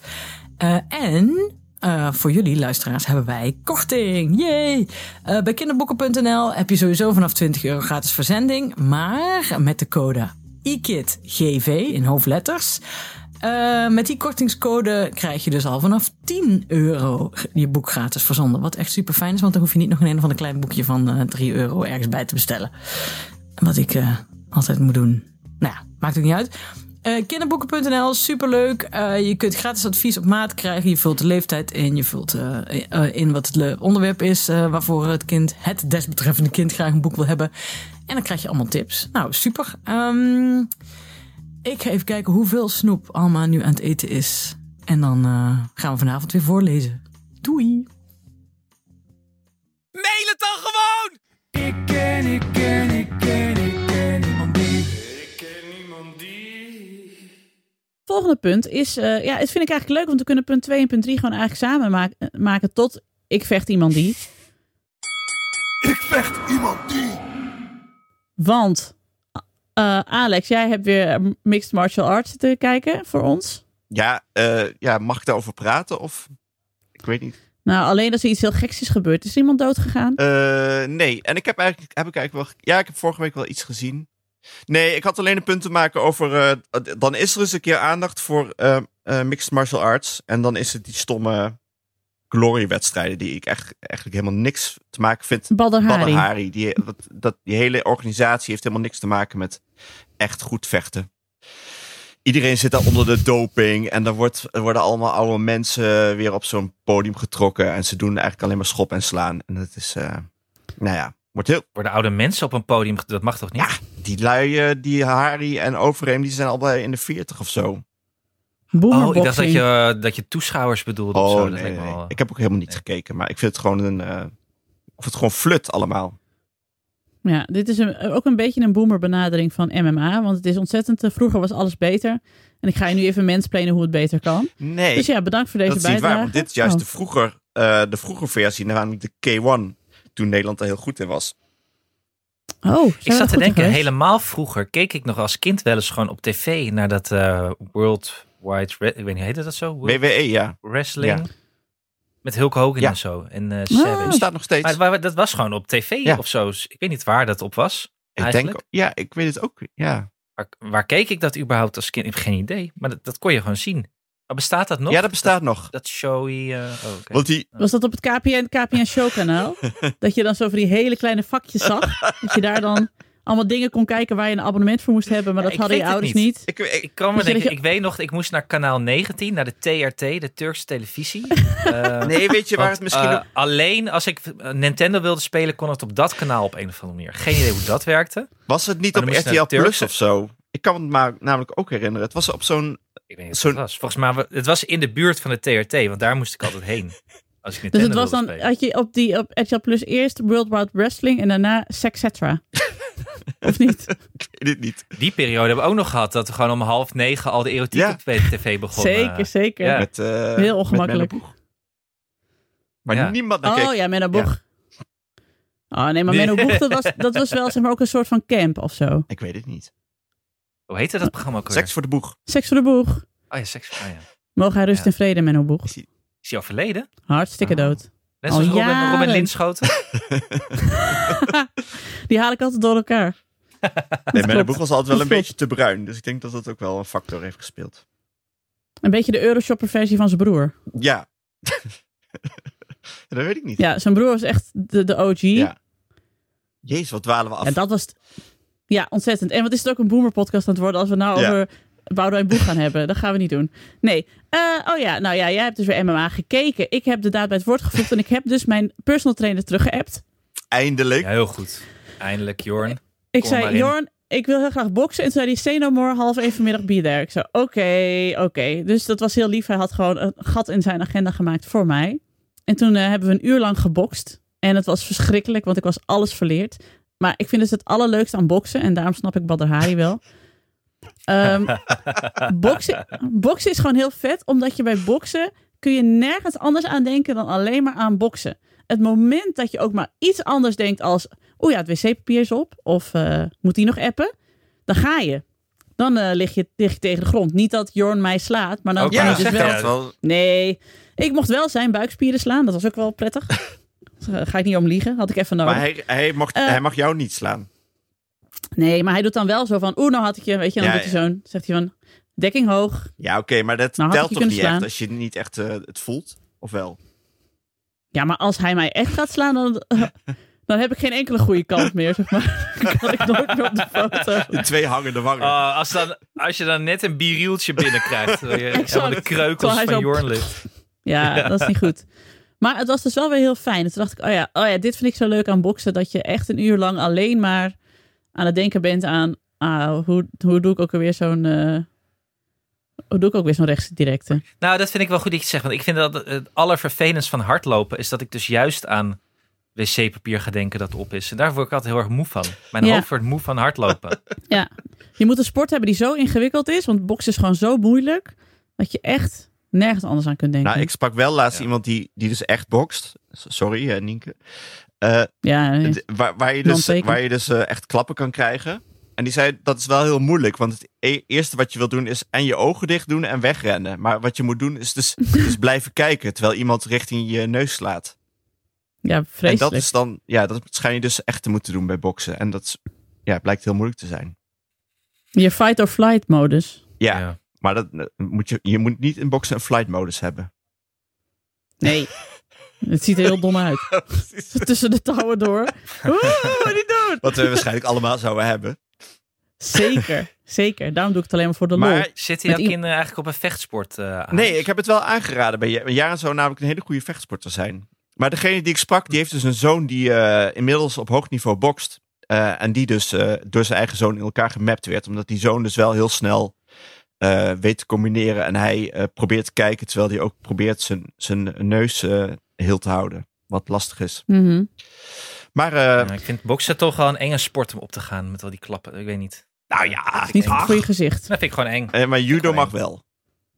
Eh, en eh, voor jullie luisteraars hebben wij korting. Yay! Eh, bij kinderboeken.nl heb je sowieso vanaf 20 euro gratis verzending. Maar met de code IKIDGV in hoofdletters... eh, met die kortingscode krijg je dus al vanaf 10 euro je boek gratis verzonden. Wat echt super fijn is, want dan hoef je niet nog een, een of ander klein boekje van eh 3 euro ergens bij te bestellen. Wat ik eh, altijd moet doen. Nou ja, maakt het niet uit. Eh, kinderboeken.nl, superleuk. Eh, je kunt gratis advies op maat krijgen. Je vult de leeftijd in. Je vult eh, eh, in wat het le- onderwerp is eh, waarvoor het kind, het desbetreffende kind, graag een boek wil hebben. En dan krijg je allemaal tips. Nou, super. Ehm, ik ga even kijken hoeveel snoep Alma nu aan het eten is. En dan eh, gaan we vanavond weer voorlezen. Doei!
Mail het dan gewoon!
Ik ken, ik ken, ik ken, ik ken niemand die. Ik ken niemand die.
Volgende punt is, eh, ja, dat vind ik eigenlijk leuk, want we kunnen punt 2 en punt 3 gewoon eigenlijk samen maak- eh, maken tot ik vecht iemand die.
Ik vecht iemand die.
Want, eh, Alex, jij hebt weer Mixed Martial Arts te kijken voor ons.
Ja, eh, ja, mag ik daarover praten? Of ik weet niet.
Nou, alleen als er iets heel geks is gebeurd, is iemand doodgegaan.
Eh, nee, en ik heb eigenlijk, heb ik eigenlijk wel. Ja, ik heb vorige week wel iets gezien. Nee, ik had alleen een punt te maken over. eh, dan is er eens een keer aandacht voor eh, eh, mixed martial arts. En dan is het die stomme gloriewedstrijden die ik echt, eigenlijk helemaal niks te maken vind.
Badr Hari.
Badahari, die, dat, dat, die hele organisatie heeft helemaal niks te maken met echt goed vechten. Iedereen zit daar onder de doping en er, wordt, er worden allemaal oude mensen weer op zo'n podium getrokken. En ze doen eigenlijk alleen maar schop en slaan. En dat is, eh, nou ja, wordt heel...
Worden oude mensen op een podium ge- Dat mag toch niet?
Ja, die lui, eh, die Harry en Overeem, die zijn al bij in de 40 of zo.
oh, ik dacht dat
Boomerboxing.
je, eh, dat je toeschouwers bedoelde of zo.
Oh,
Dat
nee,
lijkt me
nee.
wel, eh,
Ik heb ook helemaal niet gekeken, maar ik vind het gewoon een... eh, of het gewoon flut allemaal.
Ja, dit is een, ook een beetje een boomer benadering van MMA. Want het is ontzettend, eh, vroeger was alles beter. En ik ga je nu even mensplannen hoe het beter kan.
Nee.
dus ja, bedankt voor deze
dat is niet
bijdrage.
waar, want dit is juist
Oh.
de, vroeger, eh, de vroeger versie, namelijk de K1, toen Nederland er heel goed in was.
Oh, zijn we
Ik zat
goed
te
in
denken,
geweest?
helemaal vroeger keek ik nog als kind wel eens gewoon op tv naar dat eh, World Wide, Re- ik weet niet, heette dat zo? World
WWE, E, ja.
Wrestling? Met Hulk Hogan
Ja.
en zo. En eh, Savage.
Ah.
Bestaat nog steeds.
Maar, waar- dat was gewoon op tv
Ja.
of zo. dus Ik weet niet waar dat op was.
ik denk,
eigenlijk.
ja, ik weet het ook. Ja,
Waar, waar keek ik dat überhaupt als kind? Ik heb geen idee. Maar dat, dat kon je gewoon zien. Maar bestaat dat nog?
ja dat bestaat nog.
Dat, dat showy... eh, oh, oké.
Want die,
Was dat op het KPN, KPN Show kanaal? dat je dan zo van die hele kleine vakjes zag. dat je daar dan allemaal dingen kon kijken waar je een abonnement voor moest hebben. Maar
Ja,
dat
ik
hadden je
weet het
ouders
niet.
niet.
Ik, ik-
Ik, kan me
Dus je
denken,
dat
ik weet nog, ik moest naar kanaal 19, naar de TRT, de Turkse televisie. Eh,
nee, weet je waar
want,
het misschien
eh,
ook...
Alleen als ik eh, Nintendo wilde spelen, kon het op dat kanaal op een of andere manier. Geen idee hoe dat werkte.
Was het niet
dan
op
moest je naar
RTL
Turks
Plus
of-
of zo? Ik kan me maar namelijk ook herinneren. Het was op zo'n...
Ik weet niet wat
Zo'n-
het was. Volgens mij, wa- het was in de buurt van de TRT, want daar moest ik altijd heen. Als ik Nintendo
Dus het was
wilde
dan,
spelen.
had je op, die, op RTL Plus eerst World Wide Wrestling en daarna Sexetra. of niet?
Ik weet het niet.
Die periode hebben we ook nog gehad, dat we gewoon om half negen al de erotiek
Ja.
op tv begonnen.
Zeker, zeker.
nou. ja.
Met, eh,
Heel
met
ongemakkelijk.
Menno Boeg. maar
Ja.
niemand naar
Oh
keek.
ja, Menno Boeg. Oh nee, maar
Nee.
Menno Boeg, dat was, dat was wel zeg maar ook een soort van camp of zo.
Ik weet het niet.
Hoe heette dat programma ook alweer?
Seks voor de boeg.
Seks voor de Boeg.
Oh ja, seks. Oh, ja. Is
Mogen hij rust
Ja.
in vrede, Menno Boeg.
hij al verleden?
Hartstikke
Oh.
dood.
Net
Al
zoals Robin, Robin
jaren.
Linschoten.
Die haal ik altijd door elkaar.
Nee, Menno
klopt.
Boeg was altijd wel
Dat
een
klopt.
beetje te bruin. Dus ik denk dat dat ook wel een factor heeft gespeeld.
Een beetje de Euroshopper versie van zijn broer.
Ja. dat weet ik niet.
Ja, zijn broer was echt de, de OG.
Ja. Jezus, wat dwalen we af.
En dat was... t- Ja, ontzettend. En wat is het ook een boomer podcast aan het worden als we nou
Ja.
over Boudewijn Boeg gaan hebben. Dat gaan we niet doen. Nee. Eh, oh ja, nou ja, jij hebt dus weer MMA gekeken. Ik heb de daad bij het woord gevoegd en ik heb dus mijn personal trainer teruggeappt.
Eindelijk.
Ja, heel goed. Eindelijk, Jorn.
Ik
Kom maar
zei,
in.
Jorn, ik wil heel graag boksen. En toen zei hij, say no more, half één vanmiddag be there. Ik zei, oké, oké. Dus dat was heel lief. Hij had gewoon een gat in zijn agenda gemaakt voor mij. En toen eh, hebben we een uur lang gebokst. En het was verschrikkelijk, want ik was alles verleerd. Maar ik vind dus het allerleukste aan boksen. En daarom snap ik Badr Hari wel. Ehm, boksen, boksen is gewoon heel vet, omdat je bij boksen kun je nergens anders aan denken dan alleen maar aan boksen. Het moment dat je ook maar iets anders denkt als, oh ja, het wc-papier is op, of eh, moet die nog appen? Dan ga je. Dan eh, lig, je, lig je tegen de grond. Niet dat Jorn mij slaat, maar dan
Ook
kan
maar
je dus
zeg
wel...
dat.
wel.
Nee, ik mocht wel zijn buikspieren slaan. Dat was ook wel prettig. Daar Ga ik niet om liegen. Had ik even nodig.
Maar hij, hij, mocht,
Eh.
hij mag jou niet slaan.
Nee, maar hij doet dan wel zo van... Oeh, nou had ik je... Weet je, dan
Ja,
doet hij zo'n... Zegt hij van... Dekking hoog.
Ja, oké, maar dat
Nou, had
telt
ik je
toch niet
kunnen slaan.
echt als je niet echt eh, het voelt? Of wel?
Ja, maar als hij mij echt gaat slaan, dan... dan heb ik geen enkele goede kant meer, zeg maar. Dan kan ik nooit meer op de foto.
De twee hangende wangen.
Oh, als, dan, als je dan net een bierrieltje binnenkrijgt. terwijl je helemaal de
Terwijl
kreukels
hij
van
zo-
Jorn ligt.
Ja, dat is niet goed. Maar het was dus wel weer heel fijn. En toen dacht ik, oh ja, oh ja, dit vind ik zo leuk aan boksen. Dat je echt een uur lang alleen maar aan het denken bent aan... Ah, hoe, hoe doe ik ook alweer zo'n... eh, hoe doe ik ook weer zo'n rechtse directe?
Nou, dat vind ik wel goed dat je het zegt. Want ik vind dat het allervervelendst van hardlopen is dat ik dus juist aan wc-papier ga denken dat op is. En daar word ik altijd heel erg moe van. Mijn
Ja.
hoofd wordt moe van hardlopen.
Ja, je moet een sport hebben die zo ingewikkeld is. Want boksen is gewoon zo moeilijk. Dat je echt nergens anders aan kunt denken.
Nou, ik sprak wel laatst
Ja.
iemand die, die dus echt bokst. S- Sorry, eh, Nienke. Eh,
ja, nee.
d- waar, waar je dus,
Non-teken.
waar je dus eh, echt klappen kan krijgen. En die zei, dat is wel heel moeilijk. Want het e- eerste wat je wil doen is en je ogen dicht doen en wegrennen. Maar wat je moet doen is dus, dus blijven kijken. Terwijl iemand richting je neus slaat.
ja
En
vreselijk.
dat is dan, ja, dat schijn je dus echt te moeten doen bij boksen. En dat is- ja, blijkt heel moeilijk te zijn.
Je fight or flight modus.
Ja, maar dat, eh, moet je, je moet niet in boksen een flight modus hebben.
Nee. Het ziet er heel dom uit. Tussen de touwen door. Oeh, niet doen.
Wat we waarschijnlijk allemaal zouden hebben.
Zeker, zeker. Daarom doe ik het alleen maar voor de lol.
Maar
Zitten jouw
Met i-
kinderen eh, eigenlijk op een vechtsport eh, aan?
Nee, ik heb het wel aangeraden bij Jaren. Jaren zou namelijk een hele goede vechtsporter zijn. Maar degene die ik sprak, die heeft dus een zoon die eh, inmiddels op hoog niveau bokst. Eh, en die dus eh, door zijn eigen zoon in elkaar gemapt werd. Omdat die zoon dus wel heel snel eh, weet te combineren. En hij eh, probeert te kijken, terwijl hij ook probeert zijn, zijn neus eh, heel te houden. Wat lastig is.
Mhm.
Maar eh,
Ja, ik vind boksen toch wel een enge sport om op te gaan met al die klappen. Ik weet niet.
nou ja,
Niet goed
ach.
voor je gezicht.
Dat vind ik gewoon eng.
Eh, maar judo mag wel.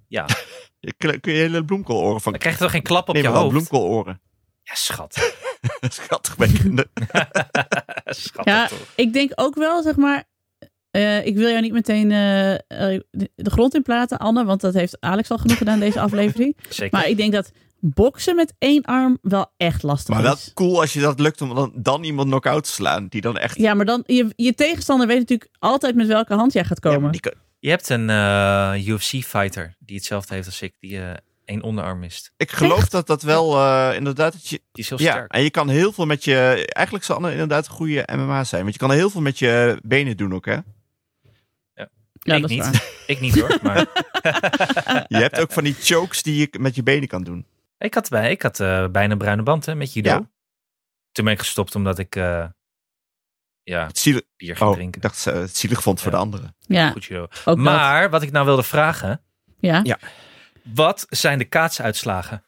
Ja.
Je kle- Kun je hele bloemkooloren van
Dan krijg je toch geen klap op
Nee,
je
maar wel
hoofd?
bloemkooloren.
Ja, schat.
Schattig bij kinderen.
schat
Ja,
toch.
ik denk ook wel, zeg maar... eh, ik wil jou niet meteen eh, eh, de de grond in platen, Anne. Want dat heeft Alex al genoeg gedaan deze aflevering.
Zeker.
Maar ik denk dat boksen met één arm wel echt lastig
Maar wel
is.
cool als je dat lukt om dan, dan iemand knock-out te slaan. Die dan echt...
Ja, maar dan, je, je tegenstander weet natuurlijk altijd met welke hand jij gaat
Ja, maar
komen.
die kan-
Je hebt een UFC-fighter die hetzelfde heeft als ik. Die eh, één onderarm mist.
Ik geloof dat dat wel eh, inderdaad... Dat je,
Die is heel
ja,
sterk.
en je kan heel veel met je... Eigenlijk zal Anne inderdaad een goede MMA zijn. Want je kan heel veel met je benen doen ook, hè?
Ja,
ik
dat is
niet.
waar.
Ik niet hoor. Maar
Je hebt ook van die chokes die je met je benen kan doen.
ik had, bij, ik had eh, bijna een bruine band hè, met judo.
Ja.
Toen ben ik gestopt omdat ik eh, ja,
Het zielig,
bier ging
oh,
drinken.
ik dacht ze het zielig vond voor
Ja.
de anderen.
Ja,
Goed judo.
ook dat.
Maar wat ik nou wilde vragen.
Ja.
Wat zijn de kaatsuitslagen?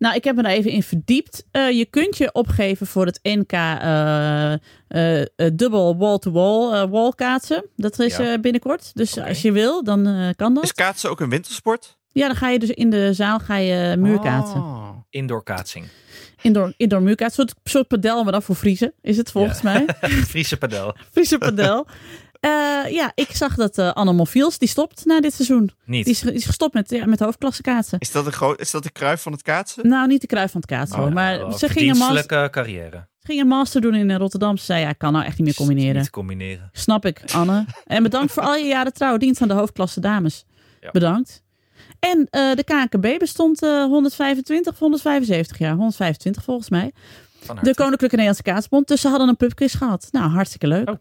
Nou, ik heb me daar even in verdiept. Eh, je kunt je opgeven voor het NK eh, eh, eh, dubbel wall-to-wall eh, wallkaatsen. Dat is
Ja.
eh, binnenkort. Dus
Oké.
als je wil, dan eh, kan dat.
Is kaatsen ook een wintersport?
Ja, dan ga je dus in de zaal ga je eh, muurkaatsen.
Oh.
Indoor kaatsing.
Indoor, indoor muurkaatsen. Een soort, soort padel, maar dan voor vriezen is het volgens mij.
Friese padel.
Friese padel. Eh, ja, ik zag dat eh Anne Monfils, die stopt na dit seizoen.
Niet.
Die is, die is gestopt met, ja, met hoofdklasse kaatsen.
Is dat, een groot, is dat de kruif van het kaatsen?
Nou, niet de kruif van het kaatsen, hoor.
Oh,
maar
nou,
ze ging een, mas-
verdienstelijke carrière.
ging een master doen in eh, Rotterdam. Ze zei, ja, ik kan nou echt niet meer combineren.
Niet combineren.
Snap ik, Anne. En bedankt voor al je jaren trouw dienst aan de hoofdklasse dames.
Ja.
Bedankt. En eh, de KNKB bestond eh 125 of 175 jaar. 125 volgens mij.
Van
De
harte.
Koninklijke Nederlandse Kaatsbond. Dus ze hadden een pubquiz gehad. Nou, hartstikke leuk.
Oh.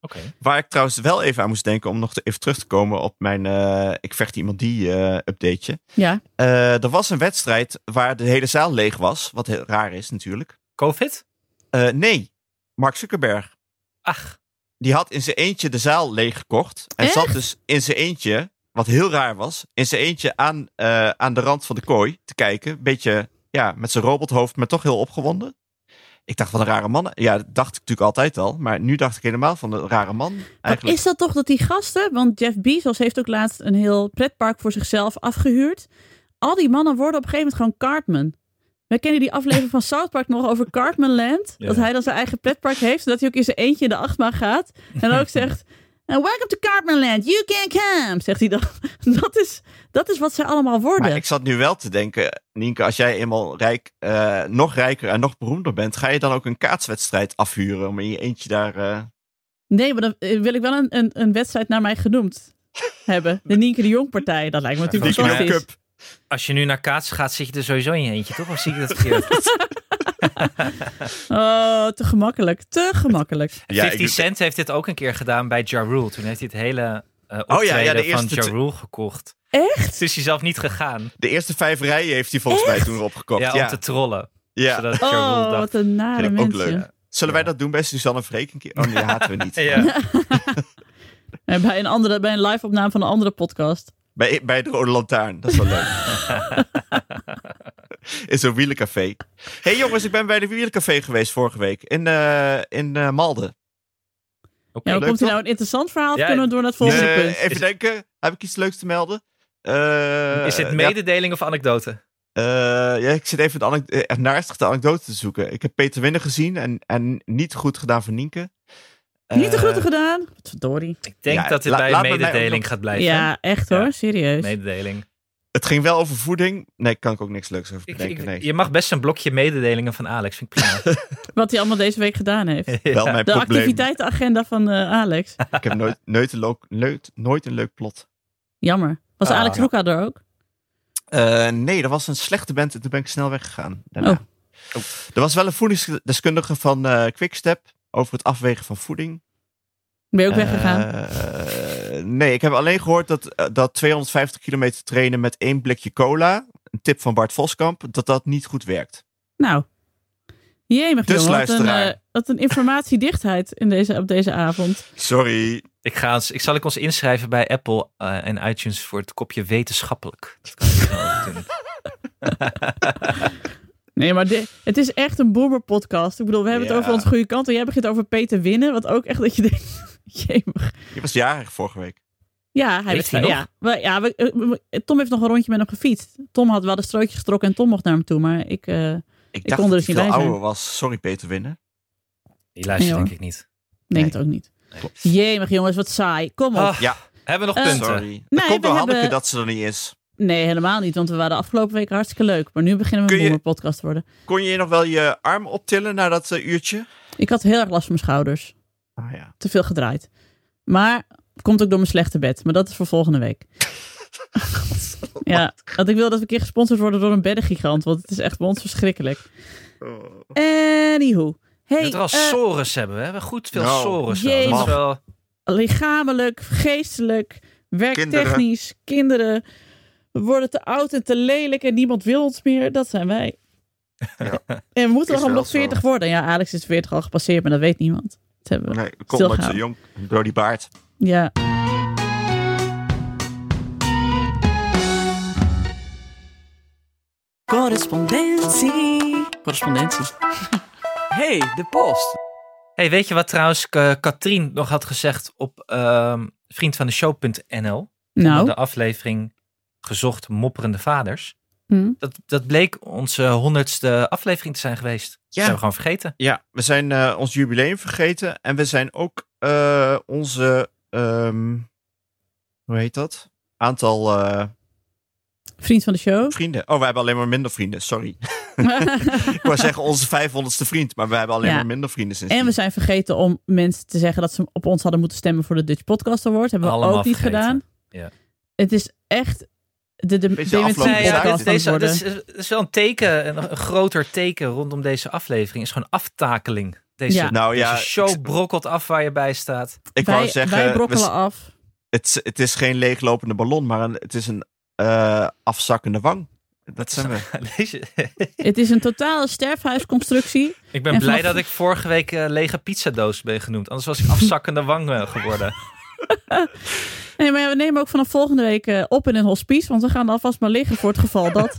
Oké.
Waar ik trouwens wel even aan moest denken om nog te- even terug te komen op mijn eh, ik vecht iemand die eh, updateje.
Ja.
Eh, er was een wedstrijd waar de hele zaal leeg was, wat heel raar is natuurlijk.
Covid?
Eh, nee, Mark Zuckerberg.
Ach,
Die had in zijn eentje de zaal leeggekocht. En
Echt?
zat dus in zijn eentje, wat heel raar was, in zijn eentje aan, eh, aan de rand van de kooi te kijken. Beetje ja, met zijn robothoofd, maar toch heel opgewonden. Ik dacht, wat een rare man. Ja, dat dacht ik natuurlijk altijd al. Maar nu dacht ik helemaal van een rare man.
Wat
Eigenlijk.
is dat toch dat die gasten... Want Jeff Bezos heeft ook laatst een heel pretpark voor zichzelf afgehuurd. Al die mannen worden op een gegeven moment gewoon Cartman. We kennen die aflevering van South Park nog over Cartman Land.
Ja.
Dat hij dan zijn eigen pretpark heeft. Zodat hij ook in zijn eentje in de achtbaan gaat. En dan ook zegt... "And welcome to Cartman Land. You can come. Zegt hij dan. Dat is, dat is wat zij allemaal worden.
Maar ik zat nu wel te denken, Nienke, als jij eenmaal rijk, eh, nog rijker en nog beroemder bent, ga je dan ook een kaatswedstrijd afhuren om in je eentje daar. eh,
Nee, maar dan eh, wil ik wel een, een, een wedstrijd naar mij genoemd hebben. De Nienke de Jong partij. Dat lijkt me natuurlijk
Volgens mij-
fantastisch.
als je nu naar kaatsen gaat, zit je er sowieso in je eentje, toch? Of zie ik dat verkeerd?
Oh, te gemakkelijk. Te gemakkelijk.
50 Cent heeft dit ook een keer gedaan bij Ja Rule. Toen heeft hij het hele eh optreden
Oh ja, ja, de
van
eerste
Ja
tw-
Rule gekocht.
Echt?
Dus hij zelf niet gegaan.
de eerste vijf rijen heeft hij volgens mij toen opgekocht.
Ja,
Ja,
om
ja.
te trollen. Zodat Ja Rule
Oh,
dacht...
wat een nare
Vind ik ook
mensen.
leuk. Zullen wij dat doen bij Suzanne Freek een keer? Oh nee, die haten we niet.
Ja.
En bij een, andere, bij een live opname van een andere podcast.
Bij, bij het Rode Lantaarn, dat is wel leuk. in zo'n wielencafé. hey jongens, ik ben bij de wielencafé geweest vorige week in, eh, in eh, Malden.
Oké.
Ja, hoe
leuk,
komt hier
toch?
nou een interessant verhaal? Of
Ja,
kunnen we door naar het volgende
Eh,
punt?
even
Is-
denken, heb ik iets leuks te melden? Eh,
Is dit
ja,
mededeling of anekdote?
Eh, ja, ik zit even de anek- eh, echt naastig de anekdote te zoeken. Ik heb Peter Winnen gezien en, en niet goed gedaan voor Nienke.
Niet de
Eh,
groeten gedaan. Wat verdorie.
Ik denk
Ja,
dat dit
la-
bij
laat me mij ook
mededeling
nog-
gaat blijven.
Ja, dus- echt
Ja.
hoor. Serieus.
Mededeling.
Het ging wel over voeding. Nee, kan ik ook niks leuks over
Ik,
bedenken.
ik-
nee.
je mag best een blokje mededelingen van Alex. Vind ik prima.
Wat hij allemaal deze week gedaan heeft.
Wel mijn
De
probleem.
activiteitenagenda van eh, Alex.
Ik heb nooit, nooit, een leuk- leuk- nooit een leuk plot.
Jammer. Was
Ah.
Alex Roeka er ook?
Eh, nee, er was een slechte band en toen ben ik snel weggegaan. daarna.
Oh.
Er was wel een voedingsdeskundige van eh Quickstep over het afwegen van voeding.
Ben je ook weggegaan?
Eh, nee, ik heb alleen gehoord dat, eh, dat 250 kilometer trainen met één blikje cola, een tip van Bart Voskamp, dat dat niet goed werkt.
Nou. Jemig
Dus
jongen. Wat een,
luisteraar.
eh, wat een informatiedichtheid in deze, op deze avond.
Sorry.
Ik, ga ons, ik zal ik ons inschrijven bij Apple eh, en iTunes voor het kopje wetenschappelijk. Dat kan ik wel doen.
Nee, maar dit- het is echt een boomer-podcast. Ik bedoel, we hebben
Ja.
het over onze goede kant. En jij begint over Peter Winnen. Wat ook echt dat je denkt... Jemig.
Je was jarig vorige week.
Ja, hij
Leeft
werd,
hij nog?
ja, we, ja we- eh, we- Tom heeft nog een rondje met hem gefietst. Tom had wel de strootje getrokken en Tom mocht naar hem toe. Maar ik, eh,
Ik
kon
dacht
er
dat
dus niet
ik veel
bij zijn.
ouder was. Sorry Peter Winnen.
Die luistert
Ja, hoor.
denk ik niet.
denk het ook niet. Jemig jongens, wat saai. Kom op.
Ah,
Ja.
Hebben we nog
Eh,
punten?
Sorry.
Nee,
dat komt
we
door Hanneke
hebben-
dat ze er niet is.
Nee, helemaal niet. Want we waren afgelopen week hartstikke leuk. Maar nu beginnen we
Kun
een
je-
boomerpodcast te worden.
Kon je nog wel je arm optillen na dat eh, uurtje?
Ik had heel erg last van mijn schouders.
Ah ja.
Te veel gedraaid. Maar het komt ook door mijn slechte bed. Maar dat is voor volgende week. Ja, want ik wil dat we een keer gesponsord worden door een beddengigant, want het is echt bij ons verschrikkelijk.
Oh.
Anywho. Hey,
dat we al
eh,
Sorus hebben. We hebben goed veel
Nou,
Sorus.
jezus.
Dat is wel...
lichamelijk, geestelijk, werktechnisch, kinderen. We worden te oud en te lelijk en niemand wil ons meer. Dat zijn wij. En we moeten nog
Is
om
wel
nog 40
zo.
worden. Ja, Alex is 40 al gepasseerd, maar dat weet niemand. Dat hebben we.
Nee, kom omdat
gaan.
zo eh, jong door die baard.
Ja.
Correspondentie.
Correspondentie.
Hey, de post.
Hey, weet je wat trouwens eh, Katrien nog had gezegd op ehm vriendvandeshow.nl? Onder
Nou,
De aflevering Gezocht Mopperende Vaders.
Hm.
Dat, dat bleek onze honderdste aflevering te zijn geweest. Dat
Ja.
hebben we gewoon vergeten.
Ja, we zijn eh, ons jubileum vergeten. En we zijn ook eh, onze, ehm, hoe heet dat? Aantal eh,
vriend van de show.
vrienden. Oh, we hebben alleen maar minder vrienden, sorry. Ik wou zeggen onze 500ste vriend, maar we hebben alleen
Ja.
maar minder vrienden sinds.
en we zijn vergeten om mensen te zeggen dat ze op ons hadden moeten stemmen voor de Dutch Podcast Award. Hebben we
Allemaal
ook niet
vergeten.
gedaan.
Ja.
Het is echt de, de
Beetje afloop.
dementie
Nee, ja,
ja,
dit-
podcast
dit,
aan het worden.
is, wel een teken, een, groter teken rondom deze aflevering. Is gewoon aftakeling. Deze,
Ja.
Nou ja,
deze Dus show
ik-
brokkelt af waar je bij staat.
ik
wij,
wou zeggen,
wij
we-
brokkelen af.
het, het is geen leeglopende ballon, maar een- het is een eh, afzakkende wang. Dat zijn we.
Deze-
Het is een totale sterfhuisconstructie.
ik ben
En
blij
vanaf-
dat ik vorige week eh, lege pizzadoos ben genoemd. Anders was ik afzakkende wang eh, geworden.
Nee, maar ja, we nemen ook vanaf volgende week eh, op in een hospice. Want we gaan alvast maar liggen voor het geval dat.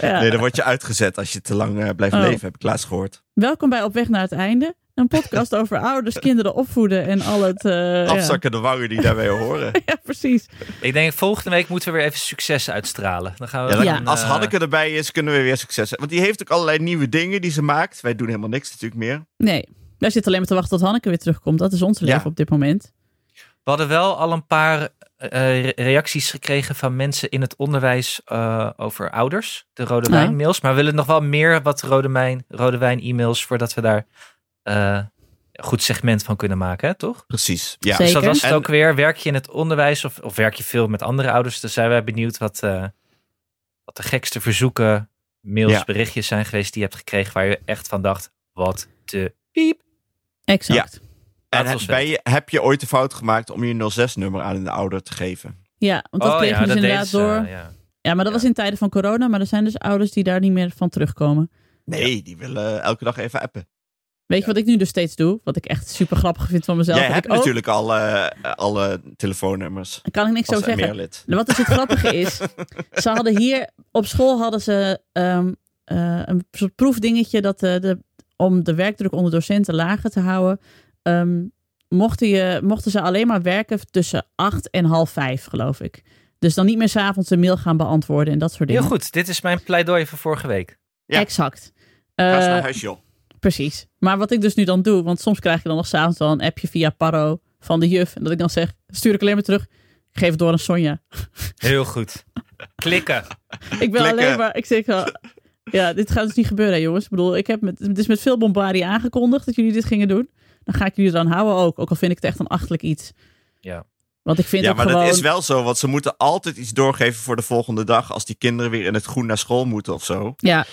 Ja.
Nee, dan word je uitgezet als je te lang eh, blijft
Oh.
leven, heb ik laatst gehoord.
Welkom bij Op Weg naar het Einde. Een podcast over ouders, kinderen opvoeden en al het. eh, ja.
Afzakkende wangen die daarbij horen.
ja, precies.
ik denk, volgende week moeten we weer even succes uitstralen. Dan gaan we
Ja, dan-
Ja.
een,
Als
eh,
Hanneke erbij is, kunnen we weer succes hebben. Want die heeft ook allerlei nieuwe dingen die ze maakt. Wij doen helemaal niks natuurlijk meer.
Nee, wij zitten alleen maar te wachten tot Hanneke weer terugkomt. Dat is ons leven
Ja.
op dit moment.
We hadden wel al een paar eh, re- reacties gekregen van mensen in het onderwijs eh, over ouders. De Rode
Ja.
Wijn mails. Maar we willen nog wel meer wat Rode Wijn, Rode Wijn e-mails voordat we daar eh, een goed segment van kunnen maken, hè, toch?
Precies. Ja.
Zeker.
Dus dat was het
En-
ook weer. Werk je in het onderwijs of, of werk je veel met andere ouders? Dan zijn wij benieuwd wat, eh, wat de gekste verzoeken, mails,
Ja.
berichtjes zijn geweest die je hebt gekregen waar je echt van dacht, wat de piep.
Exact.
En
Laat
heb,
ons
bij je- heb je ooit de fout gemaakt om je 06-nummer aan een ouder te geven?
Ja, want dat
Oh
kregen
ja,
we dus
dat
inderdaad
deden ze,
door.
eh, ja.
Ja, maar dat
Ja.
was in tijden van corona. Maar er zijn dus ouders die daar niet meer van terugkomen.
Nee, die willen elke dag even appen.
Weet je wat ik nu dus steeds doe? Wat ik echt super grappig vind van mezelf.
Jij
dat
hebt
ik, oh,
natuurlijk alle, eh, alle telefoonnummers.
daar kan ik niks zo
Als
zeggen.
lid.
Wat dus het grappige is, ze hadden hier op school hadden ze ehm, eh, een soort proefdingetje dat eh, de, om de werkdruk onder docenten lager te houden. ehm, mochten, je, mochten ze alleen maar werken tussen acht en half vijf, geloof ik. Dus dan niet meer s'avonds een mail gaan beantwoorden en dat soort dingen.
Heel goed, dit is mijn pleidooi van vorige week.
ja.
Exact.
Ga eens
Eh,
naar huis, joh.
Precies. Maar wat ik dus nu dan doe, want soms krijg je dan nog s'avonds wel een appje via Paro van de juf. En dat ik dan zeg, stuur ik alleen maar terug. Ik geef het door aan Sonja.
Heel goed. Klikken.
Ik ben
Klikken.
alleen maar, ik zeg wel, ja, dit gaat dus niet gebeuren, hè, jongens. Ik bedoel, ik heb met, het is met veel bombardie aangekondigd dat jullie dit gingen doen. Dan ga ik jullie eraan houden ook, ook al vind ik het echt een achtelijk iets.
Ja.
Want ik vind
Ja,
ook
maar
gewoon,
dat is wel zo, want ze moeten altijd iets doorgeven voor de volgende dag als die kinderen weer in het groen naar school moeten of zo.
ja,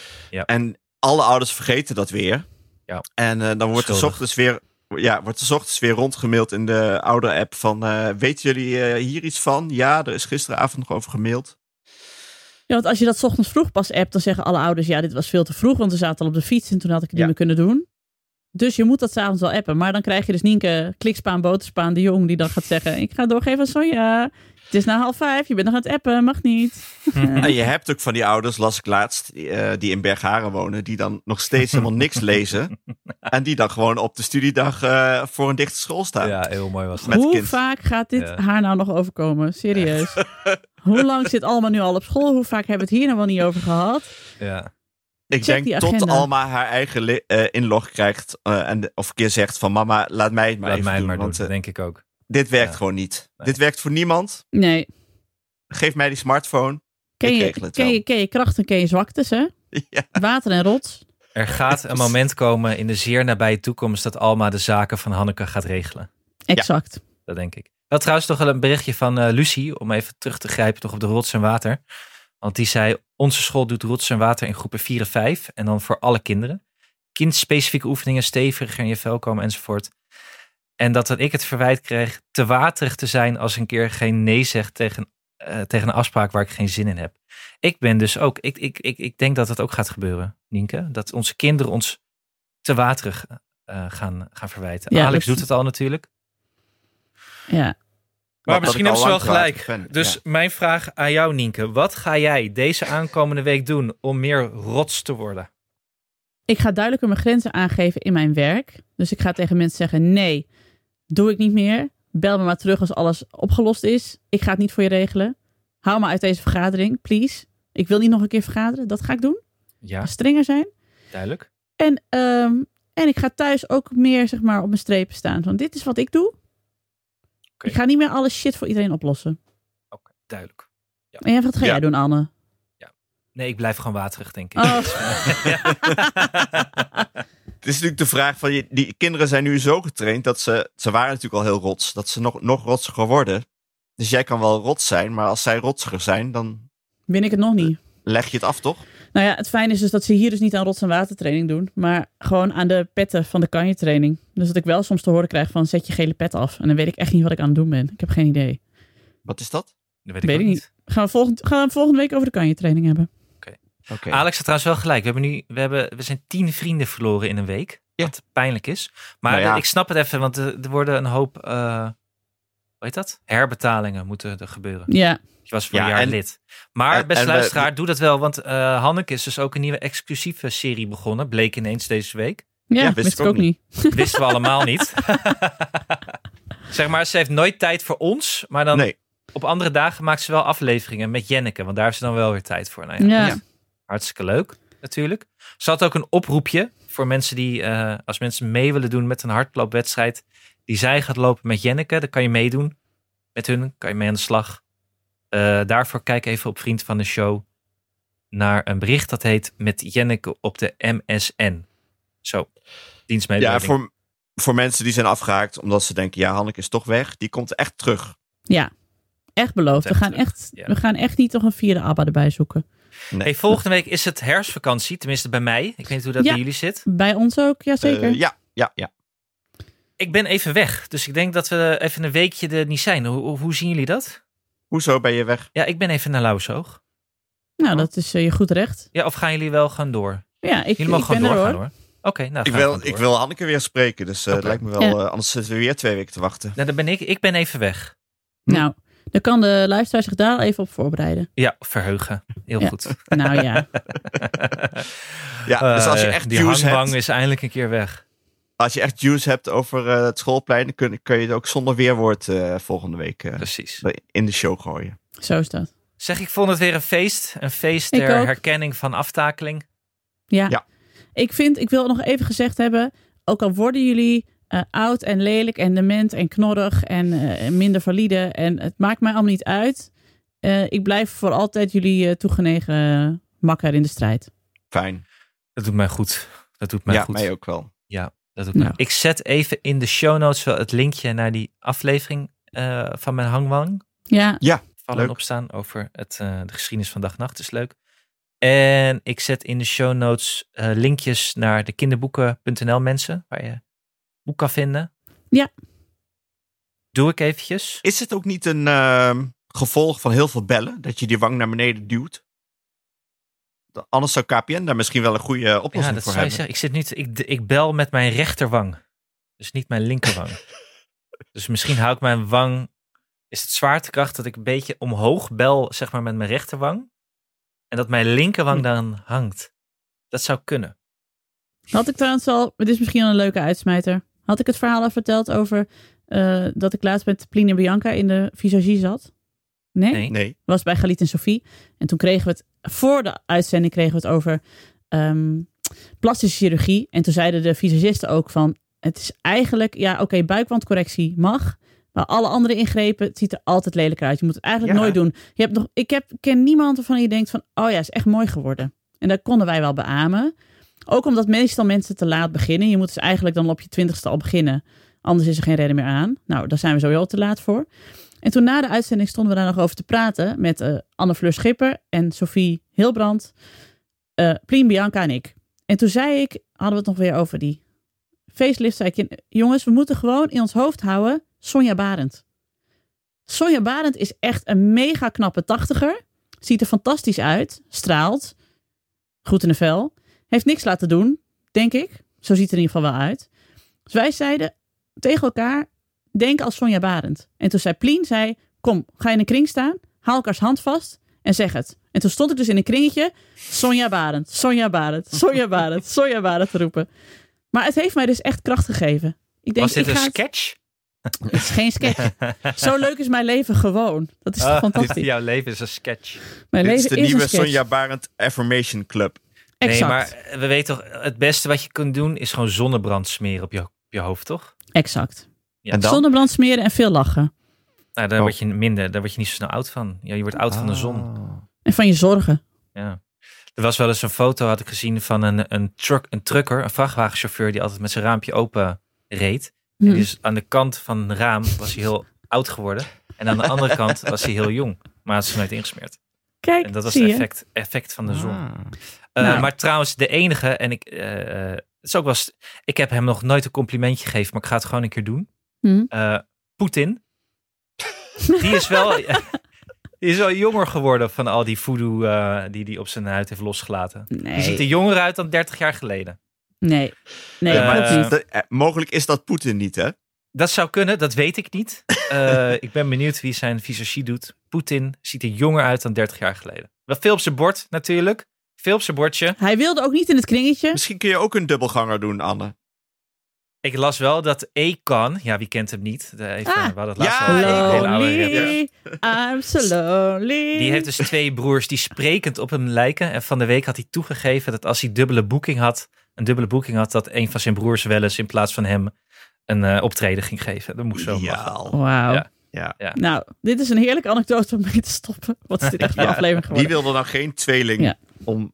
En alle ouders vergeten dat weer.
Ja.
En eh, dan wordt er, s
Schuldig.
ochtends weer, ja, wordt er s ochtends weer rondgemaild in de ouder-app van... eh, weten jullie eh, hier iets van? Ja, er is gisteravond nog over gemaild.
Ja, want als je dat 's ochtends vroeg pas appt, dan zeggen alle ouders: ja, dit was veel te vroeg, want we zaten al op de fiets en toen had ik het
Ja.
niet meer kunnen doen. Dus je moet dat s'avonds wel appen. Maar dan krijg je dus Nienke, klikspaan, boterspaan, de jong, die dan gaat zeggen: Ik ga doorgeven aan Sonja. Het is na half vijf, je bent nog aan het appen, mag niet.
En je hebt ook van die ouders, las ik laatst, die, eh, die in Bergharen wonen... die dan nog steeds helemaal niks lezen. En die dan gewoon op de studiedag eh, voor een dichte school staan.
Ja, heel mooi was dat.
Met
Hoe
kind.
vaak gaat dit
Ja.
haar nou nog overkomen? Serieus. Hoe lang zit Alma nu al op school? Hoe vaak hebben we het hier nou wel niet over gehad?
Ja.
Ik
Check die
denk tot
agenda.
Alma haar eigen li- eh, inlog krijgt. eh, en de- of een keer zegt van mama, laat mij het maar
Laat
even
mij
doen.
maar doen,
want eh,
denk ik ook.
dit werkt
Ja.
gewoon niet.
Nee.
Dit werkt voor niemand.
Nee.
Geef mij die smartphone.
Ken
Ik
je,
regel het
ken,
wel.
je, ken je krachten, ken je zwaktes, hè?
ja.
Water en rots.
Er gaat een moment komen in de zeer nabije toekomst dat Alma de zaken van Hanneke gaat regelen.
Exact.
Dat denk ik. Wel trouwens toch wel een berichtje van eh Lucie, om even terug te grijpen toch op de rots en water. Want die zei, onze school doet rots en water in groepen 4 en 5 en dan voor alle kinderen. Kindspecifieke oefeningen, steviger in je vel komen enzovoort. En dat dan ik het verwijt kreeg te waterig te zijn als een keer geen nee zegt tegen, eh, tegen een afspraak waar ik geen zin in heb. Ik ben dus ook, ik, ik, ik, ik denk dat dat ook gaat gebeuren, Nienke. Dat onze kinderen ons te waterig eh, gaan, gaan verwijten.
Ja,
Alex
dat-
doet het al natuurlijk.
Ja.
Maar
Wat
misschien
ik al
hebben ze wel
lang
gelijk.
waterig ben,
dus
ja.
mijn vraag aan jou, Nienke. Wat ga jij deze aankomende week doen om meer rots te worden?
Ik ga duidelijker mijn grenzen aangeven in mijn werk. Dus ik ga tegen mensen zeggen: nee, doe ik niet meer. Bel me maar terug als alles opgelost is. Ik ga het niet voor je regelen. Hou me uit deze vergadering, please. Ik wil niet nog een keer vergaderen. Dat ga ik doen.
Ja,
Strenger zijn.
duidelijk.
En, ehm, en ik ga thuis ook meer zeg maar, op mijn strepen staan. Van dit is wat ik doe.
Oké.
Ik ga niet meer alle shit voor iedereen oplossen.
Oké, duidelijk.
En jij, wat ga
Ja.
jij doen, Anne?
Nee, ik blijf gewoon waterig, denk ik.
Oh,
Het is natuurlijk de vraag van, je- die kinderen zijn nu zo getraind dat ze, ze waren natuurlijk al heel rots, dat ze nog, nog rotsiger worden. Dus jij kan wel rots zijn, maar als zij rotsiger zijn, dan
win ik het nog niet.
leg je het af, toch?
Nou ja, het fijne is dus dat ze hier dus niet aan rots- en watertraining doen, maar gewoon aan de petten van de kanje training. Dus dat ik wel soms te horen krijg van zet je gele pet af. En dan weet ik echt niet wat ik aan het doen ben. Ik heb geen idee.
Wat is dat?
Dat weet ik
weet
ook
ik niet. Gaan we, volgend, gaan we volgende week over de kanje training hebben.
Oké.
Alex had trouwens wel gelijk. We, hebben nu, we, hebben, we zijn tien vrienden verloren in een week. Wat pijnlijk is. Maar
Nou ja.
eh, ik snap het even, want er, er worden een hoop... eh hoe heet dat? Herbetalingen moeten er gebeuren.
Ja,
Je was voor
Ja,
een jaar
en-
lid. Maar
en-
beste
en we-
luisteraar, doe dat wel. Want eh, Hanneke is dus ook een nieuwe exclusieve serie begonnen. Bleek ineens deze week.
ja,
wist
wist,
ik
ik
ook
ook niet.
Wisten we allemaal niet. zeg maar, ze heeft nooit tijd voor ons. Maar dan
Nee,
op andere dagen maakt ze wel afleveringen met Jenneke. Want daar heeft ze dan wel weer tijd voor. Nou ja,
Ja.
dat is Hartstikke leuk, natuurlijk. Ze had ook een oproepje voor mensen die, eh, als mensen mee willen doen met een hardloopwedstrijd. Die zij gaat lopen met Jenneke. Dan kan je meedoen met hun. Kan je mee aan de slag. Eh, daarvoor kijk even op Vriend van de Show naar een bericht dat heet Met Jenneke op de MSN. Zo, dienstmededeling.
ja, voor, voor mensen die zijn afgehaakt omdat ze denken, ja, Hanneke is toch weg, die komt echt terug.
Echt beloofd. We
Echt,
gaan
eh,
echt,
ja.
we gaan echt niet toch een vierde ABBA erbij zoeken.
Hey, volgende week is het herfstvakantie, tenminste bij mij. Ik weet niet hoe dat
Ja.
bij jullie zit.
Bij ons ook, jazeker.
Eh, ja, ja, ja.
Ik ben even weg, dus ik denk dat we even een weekje er niet zijn. Hoe, hoe- hoe zien jullie dat?
Hoezo ben je weg?
Ja, ik ben even naar Lauwshoog.
Nou, dat is eh, je goed recht.
Ja, of gaan jullie wel gaan door?
Ja, ik, ik
Jullie mogen
ben
gewoon
er
doorgaan
hoor.
hoor. Oké, nou
Ik
gaan we
wil,
gewoon
ik
door.
wil Hanneke weer spreken, dus eh, het
Oké.
lijkt me wel,
Ja.
eh, anders zitten we weer twee weken te wachten.
Nou, dan ben ik. Ik ben even weg.
Hm.
Nou, dan kan de luisteraar zich daar even op voorbereiden.
Ja, verheugen. Heel
Ja.
goed.
Nou ja,
Ja, dus als je
Eh,
echt
die
juice
hangbang
hebt,
is eindelijk een keer weg.
als je echt juice hebt over eh, het schoolplein, dan kun, kun je het ook zonder weerwoord eh, volgende week eh,
Precies.
in de show gooien.
zo is dat.
Zeg, ik vond het weer een feest. Een feest
Ik
ter
ook.
herkenning van aftakeling.
Ja.
Ja.
Ik vind, ik wil nog even gezegd hebben, ook al worden jullie eh, oud en lelijk en dement en knorrig en eh, minder valide en het maakt mij allemaal niet uit. Eh, ik blijf voor altijd jullie eh, toegenegen eh, makker in de strijd.
Fijn.
Dat doet mij goed. Dat doet mij
ja,
goed.
mij ook wel.
Dat doet
Ja.
mij- Ik zet even in de show notes wel het linkje naar die aflevering eh, van mijn hangwang.
Ja,
vallen
Leuk.
opstaan over het, eh, de geschiedenis van dag-nacht. is leuk. En ik zet in de show notes eh, linkjes naar de kinderboeken.nl mensen, waar je boek kan vinden.
Ja.
Doe ik eventjes.
Is het ook niet een ehm, gevolg van heel veel bellen, dat je die wang naar beneden duwt? Da- Anders zou KPN daar misschien wel een goede
Ja,
oplossing
dat
voor
zou je
hebben.
zeggen. Ik, zit niet, ik, ik bel met mijn rechterwang. Dus niet mijn linkerwang. dus misschien hou ik mijn wang... Is het zwaartekracht dat ik een beetje omhoog bel, zeg maar, met mijn rechterwang? En dat mijn
Hm.
linkerwang dan hangt. Dat zou kunnen.
had ik trouwens al, het is misschien wel een leuke uitsmijter. Had ik het verhaal al verteld over eh, dat ik laatst met Pline en Bianca in de visagie zat? Nee?
Nee.
Nee.
was bij Galit en Sophie. En toen kregen we het, voor de uitzending kregen we het over ehm, plastische chirurgie. En toen zeiden de visagisten ook van, het is eigenlijk, ja oké, buikwandcorrectie mag. Maar alle andere ingrepen, het ziet er altijd lelijker uit. Je moet het eigenlijk
Ja.
nooit doen. Je hebt nog, ik heb, ken niemand waarvan je denkt van, oh ja, is echt mooi geworden. En dat konden wij wel beamen. Ook omdat meestal mensen te laat beginnen. Je moet dus eigenlijk dan op je twintigste al beginnen. Anders is er geen reden meer aan. Nou, daar zijn we sowieso al te laat voor. En toen na de uitzending stonden we daar nog over te praten met eh, Anne-Fleur Schipper en Sophie Hilbrand, eh Plien, Bianca en ik. En toen zei ik, hadden we het nog weer over die facelift, zei ik, "Jen- jongens, we moeten gewoon in ons hoofd houden Sonja Barend. Sonja Barend is echt een mega knappe tachtiger. Ziet er fantastisch uit, straalt, goed in de vel. Heeft niks laten doen, denk ik. Zo ziet het er in ieder geval wel uit. Dus wij zeiden tegen elkaar, denk als Sonja Barend. En toen zei Plien, zei, kom, ga in een kring staan, haal elkaars hand vast en zeg het. En toen stond ik dus in een kringetje, Sonja Barend, Sonja Barend, Sonja Barend, Sonja Barend te roepen. Maar het heeft mij dus echt kracht gegeven. Ik denk,
Was dit
ik
een
ga het-
sketch?
Het is geen sketch. Zo leuk is mijn leven gewoon. Dat is toch
Ah,
fantastisch.
dit- jouw leven is een sketch.
Mijn
Dit is
leven
de
is
nieuwe
een sketch.
Sonja Barend Affirmation Club.
Exact.
Nee, maar eh, we weten toch, het beste wat je kunt doen is gewoon zonnebrand smeren op je, op je hoofd, toch?
exact.
Ja.
En dan?
Zonnebrand smeren en veel lachen.
Nou, daar
Oh. Ah.
word je minder, daar word je niet zo snel oud van. Ja, je wordt oud van de zon.
En van je zorgen.
Ja. Er was wel eens een foto, had ik gezien, van een, een, truck, een trucker, een vrachtwagenchauffeur, die altijd met zijn raampje open reed. En
Hm.
dus aan de kant van het raam was hij heel oud geworden. En aan de andere kant was hij heel jong. Maar had ze nooit ingesmeerd.
Kijk,
En dat was
zie
het
je.
effect, effect van de zon. Eh,
Nou.
Maar trouwens, de enige, en ik, eh, eh, het is ook wel eens- ik heb hem nog nooit een complimentje gegeven, maar ik ga het gewoon een keer doen.
Hm.
Eh, Poetin. die, is wel, die is wel jonger geworden van al die voodoo eh, die hij op zijn huid heeft losgelaten. Die ziet er
Nee,
jonger uit dan 30 jaar geleden.
nee, nee,
Eh,
klopt
maar-
niet.
Dat- eh, mogelijk is dat Poetin niet, hè?
Dat zou kunnen, dat weet ik niet. Eh, ik ben benieuwd wie zijn visagie doet. Poetin ziet er jonger uit dan 30 jaar geleden. Wel veel op zijn bord natuurlijk. Veel op zijn bordje.
Hij wilde ook niet in het kringetje.
Misschien kun je ook een dubbelganger doen, Anne.
Ik las wel dat Ekan, ja wie kent hem niet? De, even,
Ah.
we hadden het
Ja,
laatst al over een hele oude rapper.
Lonely, I'm so lonely.
Die heeft dus twee broers die sprekend op hem lijken. En van de week had hij toegegeven dat als hij dubbele boeking had, een dubbele boeking had, dat een van zijn broers wel eens in plaats van hem een eh, optreden ging geven. Dat moest zo. lachen.
Ideaal.
Wauw.
Ja.
Ja.
Nou, dit is een heerlijke anekdote om mee te stoppen. Wat is dit echt voor
Ja,
aflevering
Wie
geworden?
wil er nou geen tweeling
Ja.
om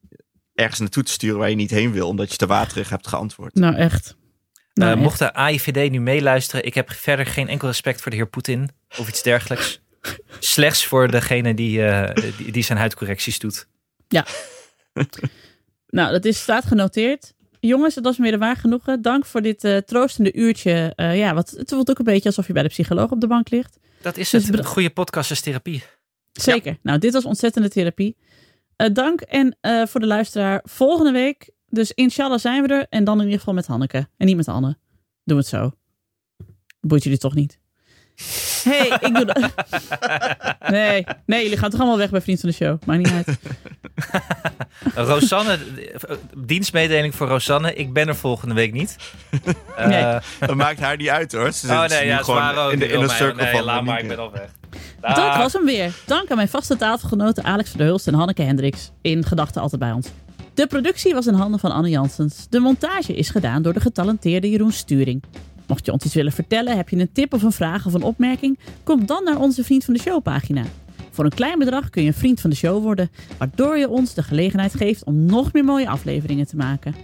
ergens naartoe te sturen waar je niet heen wil, omdat je te waterig hebt geantwoord?
Nou, echt. Nou,
Eh,
echt.
mocht de AIVD nu meeluisteren, ik heb verder geen enkel respect voor de heer Poetin of iets dergelijks. Slechts voor degene die, eh, die, die zijn huidcorrecties doet.
Nou, dat is, staat genoteerd. Jongens, dat was me weer waar genoegen. Dank voor dit eh, troostende uurtje. Eh, ja, wat, het voelt ook een beetje alsof je bij de psycholoog op de bank ligt.
Dat is
Dus
het.
beda-
Een goede podcast is therapie.
Zeker. Nou, dit was ontzettende therapie. Eh, dank en eh, voor de luisteraar volgende week. Dus inshallah zijn we er. En dan in ieder geval met Hanneke. En niet met Anne. Doen we het zo. Boeit jullie toch niet? hey, ik doe dat. Nee, nee, jullie gaan toch allemaal weg bij Vriend van de Show. Maakt niet uit.
Rosanne, eh, dienstmededeling voor Rosanne. Ik ben er volgende week niet. Eh,
Nee.
Dat maakt haar niet uit hoor. Ze zit
Oh
nu
nee, ja,
gewoon
zwaar ook.
in de
Die wil
inner
mij-
circle
nee,
van
laat maar,
Monique.
ik ben al weg.
Dat
Dag.
was hem weer. Dank aan mijn vaste tafelgenoten Alex van der Hulst en Hanneke Hendricks. In gedachten altijd bij ons. De productie was in handen van Anne Janssens. De montage is gedaan door de getalenteerde Jeroen Sturing. Mocht je ons iets willen vertellen, heb je een tip of een vraag of een opmerking, kom dan naar onze Vriend van de Show pagina. Voor een klein bedrag kun je een vriend van de show worden, waardoor je ons de gelegenheid geeft om nog meer mooie afleveringen te maken.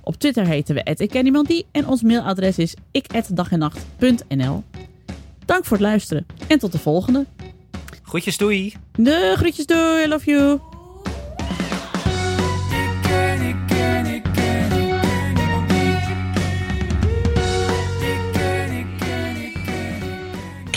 Op Twitter heten we @ikkenniemandie en ons mailadres is ik@dagennacht.nl. Dank voor het luisteren en tot de volgende.
Groetjes, doei.
De groetjes, doei, I love you.
Ik